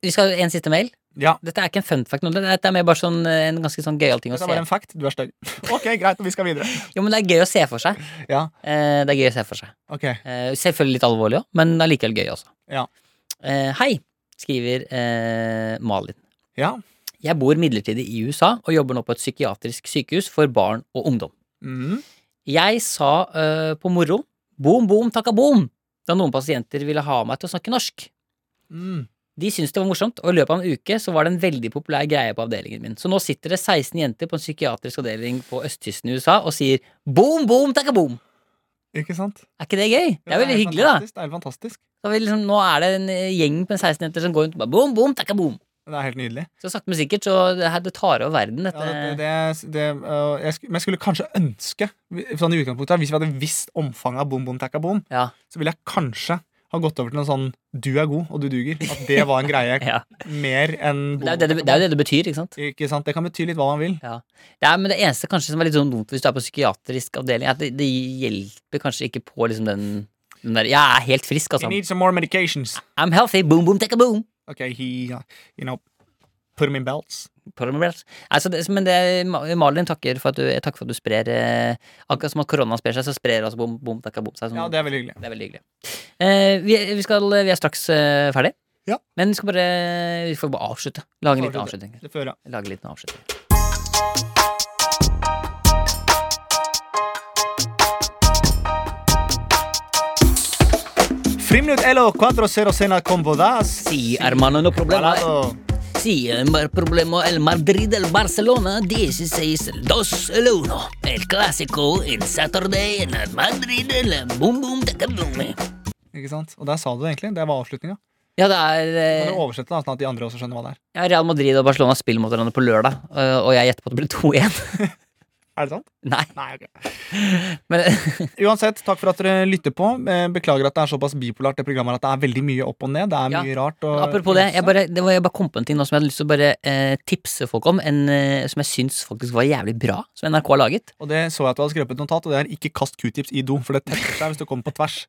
vi skal ha en siste mail.
Ja.
Dette er ikke en fun fact. nå, Dette er mer bare sånn, eh, en ganske sånn gøyal ting å
Det
se.
er bare en fact. Du er stygg. Ok, greit, og vi skal videre.
Jo, men det er gøy å se for seg.
Ja.
Eh, det er gøy å se for seg.
Ok.
Eh, selvfølgelig litt alvorlig òg, men allikevel gøy også.
Ja.
Eh, hei, skriver eh, Malin.
Ja.
Jeg bor midlertidig i USA og jobber nå på et psykiatrisk sykehus for barn og ungdom.
Mm.
Jeg sa eh, på moro boom, boom, takka boom da noen pasienter ville ha meg til å snakke norsk.
Mm.
De syntes det var morsomt, og i løpet av en uke så var det en veldig populær greie på avdelingen min. Så nå sitter det 16 jenter på en psykiatrisk avdeling på østkysten i USA og sier boom, boom, takka boom.
Ikke sant?
Er ikke det gøy? Det er veldig
helt
hyggelig,
fantastisk, Det
da.
er helt fantastisk.
Så vi liksom, nå er det en eh, gjeng på en 16 jenter som går rundt og bare boom, boom, takka boom.
Det er helt nydelig.
Så sakte, men sikkert, så det, her, det tar over verden,
Ja,
dette.
det, det, det, øh, jeg sku- men jeg skulle kanskje ønske, vi- sånn i utgangspunktet, at hvis vi hadde visst omfanget av bom, bom, takka, bom,
Ja.
så ville jeg kanskje ha gått over til noe sånn 'du er god, og du duger'. At det var en greie
Ja.
mer enn
Det er jo det det, det, er jo det det betyr, ikke sant?
Ikke sant? Det kan bety litt hva man vil.
Det er, men det eneste kanskje som er litt sånn dumt hvis du er på psykiatrisk avdeling, er at det, det hjelper kanskje ikke på liksom den, den der Jeg er helt frisk,
You
altså.
need some more medications.
I'm healthy. Boom, boom, take a boom.
Ok, he, uh, you know. Put them in belts.
Paramobiles. Altså, det, men det, Ma- Malin takker for at du, jeg takker for at du sprer eh, Akkurat som at korona sprer seg, så sprer også bom, bom, takka, bom seg. Sånn.
Ja, det er veldig hyggelig.
Det er veldig hyggelig. Eh, vi, vi, skal, vi er straks eh, ferdig.
Ja.
Men vi skal bare Vi får bare avslutte. Lage en liten
Avslutte.
avslutning.
Det fører jeg.
Lage en liten avslutning.
Friminutt elo 406 con vodas.
Si, hermano, no problema. Si, mar problema el Madrid el Barcelona 16 el 2 el 1. El clásico en Saturday en el Madrid el boom boom takka, boom.
Ikke sant? Og der sa du det egentlig. Det var avslutninga.
Ja, det er
Kan
eh,
du oversette det, sånn at de andre også skjønner hva det er?
Ja, Real Madrid og Barcelona spiller mot hverandre på lørdag, øh, og jeg gjetter på at det blir 2-1.
Er det sant?
Nei,
Nei, ok.
men
Uansett, takk for at dere lytter på. Eh, Beklager at det er såpass bipolart det programmet her, at det er veldig mye opp og ned. Det er
Ja.
mye rart. Og
apropos det, jeg bare, det var, jeg bare kom på en ting nå som jeg hadde lyst til å bare eh, tipse folk om, en, eh, som jeg syns faktisk var jævlig bra, som NRK har laget.
Og det så jeg at du hadde skrevet et notat, og det er ikke kast q-tips i do, for det tetter seg hvis du kommer på tvers.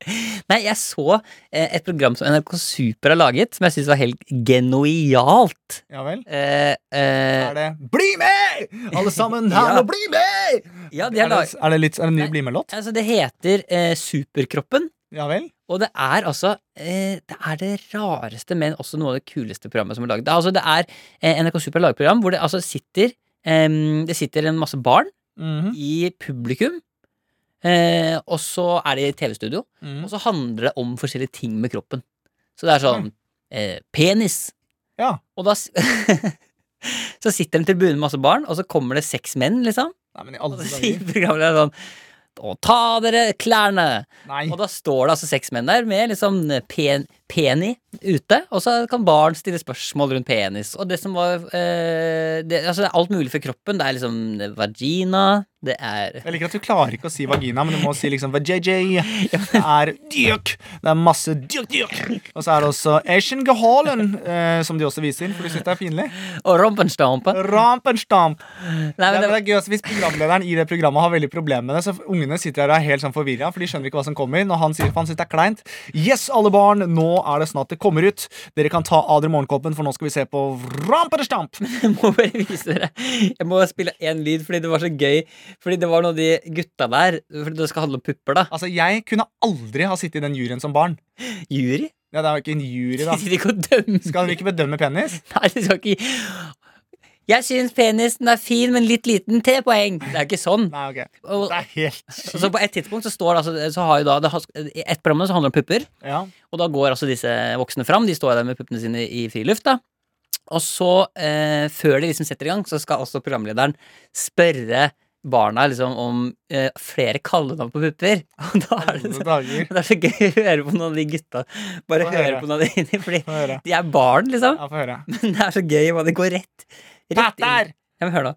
Nei, jeg så eh, et program som NRK Super har laget, som jeg syns var helt genialt.
Ja vel?
Eh, eh,
Er det 'Bli med!' Alle sammen her
Ja.
nå, bli med!
ja, de
Er
har
det,
laget
er det, litt, er det en ny
Nei.
Bli med-låt?
Altså, det heter eh, Superkroppen.
Ja vel?
Og det er altså eh, Det er det rareste, men også noe av det kuleste programmet som er laget. Det er, altså, det er eh, NRK Super lager et program hvor det altså sitter em, Det sitter en masse barn
Mhm,
i publikum. Eh, og så er de i TV-studio,
mhm.
og så handler det om forskjellige ting med kroppen. Så det er sånn eh, Penis.
Ja.
Og da s- Så sitter en tribune med masse barn, og så kommer det seks menn, liksom.
Nei, men i
Og
alle
så sier
dager.
programlederen sånn Å, ta dere klærne!
Nei.
Og da står det altså seks menn der med liksom pen, peni ute, og så kan barn stille spørsmål rundt penis. Og det som var eh, det, Altså, det er alt mulig for kroppen. Det er liksom vagina, det er
Jeg liker at du klarer ikke å si vagina, men du må si liksom JJ. Det er dyrk. Det er masse dyrk, dyrk. Og så er det også Asian Gehalen, eh, som de også viser, for de syns det er pinlig.
Og rompenstampe.
Rampenstamp.
Nei,
Ja, men
men det,
det er gøy også Hvis programlederen i det programmet har veldig problemer med det, så ungene sitter her og er helt sånn forvirra, for de skjønner ikke hva som kommer. Når han sier for han synes det er kleint. Yes, alle barn, nå er det snart det kommer ut. Dere kan ta av dere morgenkoppen, for nå skal vi se på Rampenstamp.
jeg må bare vise dere. Jeg må spille én lyd, fordi det var så gøy. Fordi det var noe de gutta der Fordi det skal handle om pupper, da.
Altså, jeg kunne aldri ha sittet i den juryen som barn.
Jury?
Ja, det er jo ikke en jury,
De
da.
sitter ikke og dømmer.
Skal de ikke bedømme penis?
Nei, de skal ikke Jeg syns penisen er fin, men litt liten. Tre poeng. Det er jo ikke sånn.
Nei, ok.
Og,
Det er helt
Og Så på et tidspunkt så står det altså så har jo da, det, har- I et program så handler det om pupper,
Ja.
og da går altså disse voksne fram. De står der med puppene sine i friluft, da. Og så, eh, før de liksom setter i gang, så skal også programlederen spørre barna liksom om eh, flere kallenavn på pupper. Og da er det
Alle
så,
dager.
det er så gøy å høre på noen av de gutta. Bare
Få
høre
høre.
på noen av de, fordi
Få høre.
de er barn, liksom.
Ja, få høre.
Men det er så gøy hva det går rett, rett inn. Ja, men hør nå.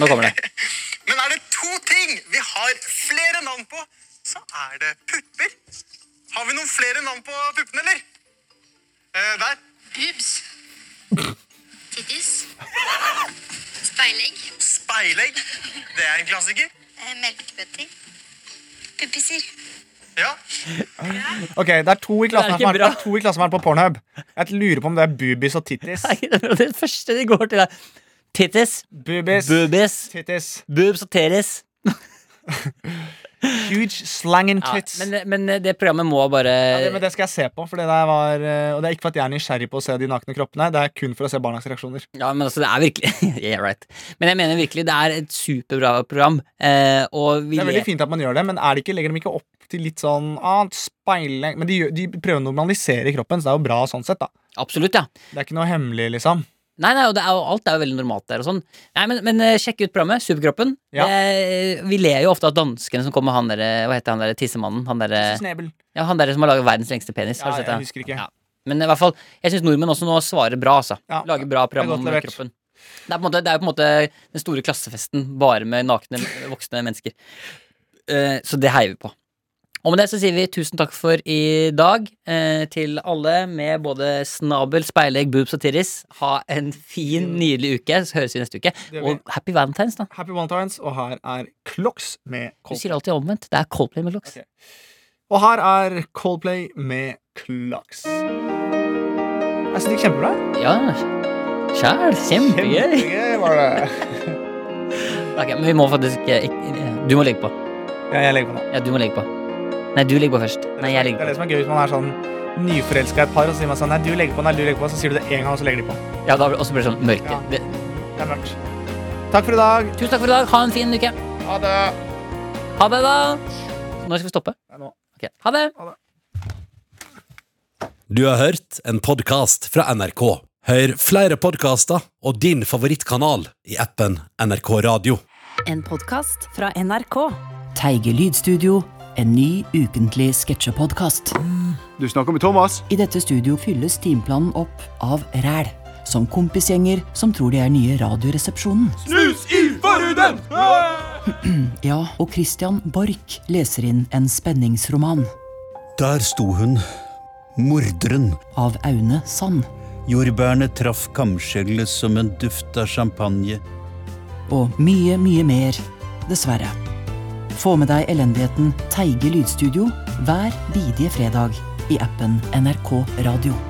Nå kommer det.
Men er det to ting vi har flere navn på, så er det pupper. Har vi noen flere navn på puppene, eller? Eh, der.
Boobs. Tittis. Speilegg.
Speilegg. Det er en klassiker.
Eh, melkebøtter. Puppiser.
Ja.
Ok, det er to i klassen her
Det er
som
ikke
er, det
bra.
er to i klassen her på Pornhub. Jeg lurer på om det er boobies og tittis.
Nei, det er det første de går til, er tittis,
Boobies,
boobies,
tittis,
boobs og teres.
huge slangin'
Ja,
tits.
men, men det programmet må bare
Ja, det, men det skal jeg se på, for det der var eh, Og det er ikke for at jeg er nysgjerrig på å se de nakne kroppene, det er kun for å se barnas reaksjoner.
Ja, men altså, det er virkelig Yeah, right. Men jeg mener virkelig, det er et superbra program, eh, og vi
Det er veldig
ler-
fint at man gjør det, men er det ikke, legger de ikke opp til litt sånn annet speile... Men de, gjør- de prøver å normalisere kroppen, så det er jo bra sånn sett, da.
Absolutt, ja.
Det er ikke noe hemmelig, liksom.
Nei, nei, og det er jo, alt er jo veldig normalt der og sånn. Nei, men, men eh, sjekk ut programmet. Superkroppen.
Ja.
Eh, vi ler jo ofte av danskene som kommer han derre Hva heter han derre tissemannen? Han derre
Snebel.
ja, han der som har laget verdens lengste penis.
Ja,
har du sett
jeg
det?
husker ikke.
Ja. Men i hvert fall, jeg syns nordmenn også nå svarer bra. altså
Ja,
Lager bra
det er
program
godt
om
levert.
kroppen. Det er, på en måte, det er jo på en måte den store klassefesten, bare med nakne voksne mennesker. Eh, så det heier vi på. Og med det så sier vi tusen takk for i dag eh, til alle med både snabel, speilegg, boobs og tirris. Ha en fin, nydelig uke. Så høres vi neste uke.
Mm. Det gjør vi.
Og happy valentines, da.
Happy Valentines, og her er Clocks med
Du
Coldplay.
sier alltid omvendt. Det er Coldplay med Lox.
Og her er Coldplay med Klaks. Jeg synes det gikk kjempebra.
Ja, sjæl. Kjempegøy.
Kjempegøy var det.
Ok, men vi må faktisk ikke ikke- Du må legge på.
Ja, jeg legger på nå.
Ja, du må legge på. Nei, du legger på først. Nei, jeg
Det er
legger på.
det som er gøy hvis man er sånn nyforelska i et par, og så sier man sånn Nei, du legger på, nei, du legger på, så sier du det én gang, og så legger de på.
Ja, da blir det også blir det sånn mørke.
Ja.
Det.
Det er mørkt. Takk for i dag.
Tusen takk for i dag. Ha en fin uke.
Ha det.
Ha det, da. Når skal vi stoppe?
Nei, nå.
Ok, Ha det.
Du har hørt en podkast fra NRK. Hør flere podkaster og din favorittkanal i appen NRK Radio.
En podkast fra NRK.
Teige Lydstudio, en ny ukentlig sketsjepodkast.
Du snakker med Thomas.
I dette studio fylles timeplanen opp av ræl, som kompisgjenger som tror de er nye Radioresepsjonen.
Snus i forhuden!
Ja, og Christian Borch leser inn en spenningsroman
Der sto hun, morderen.
av Aune Sand.
Jordbærene traff kamskjellet som en duft av champagne.
Og mye, mye mer, dessverre. Få med deg elendigheten Teige Lydstudio hver bidige fredag i appen NRK Radio.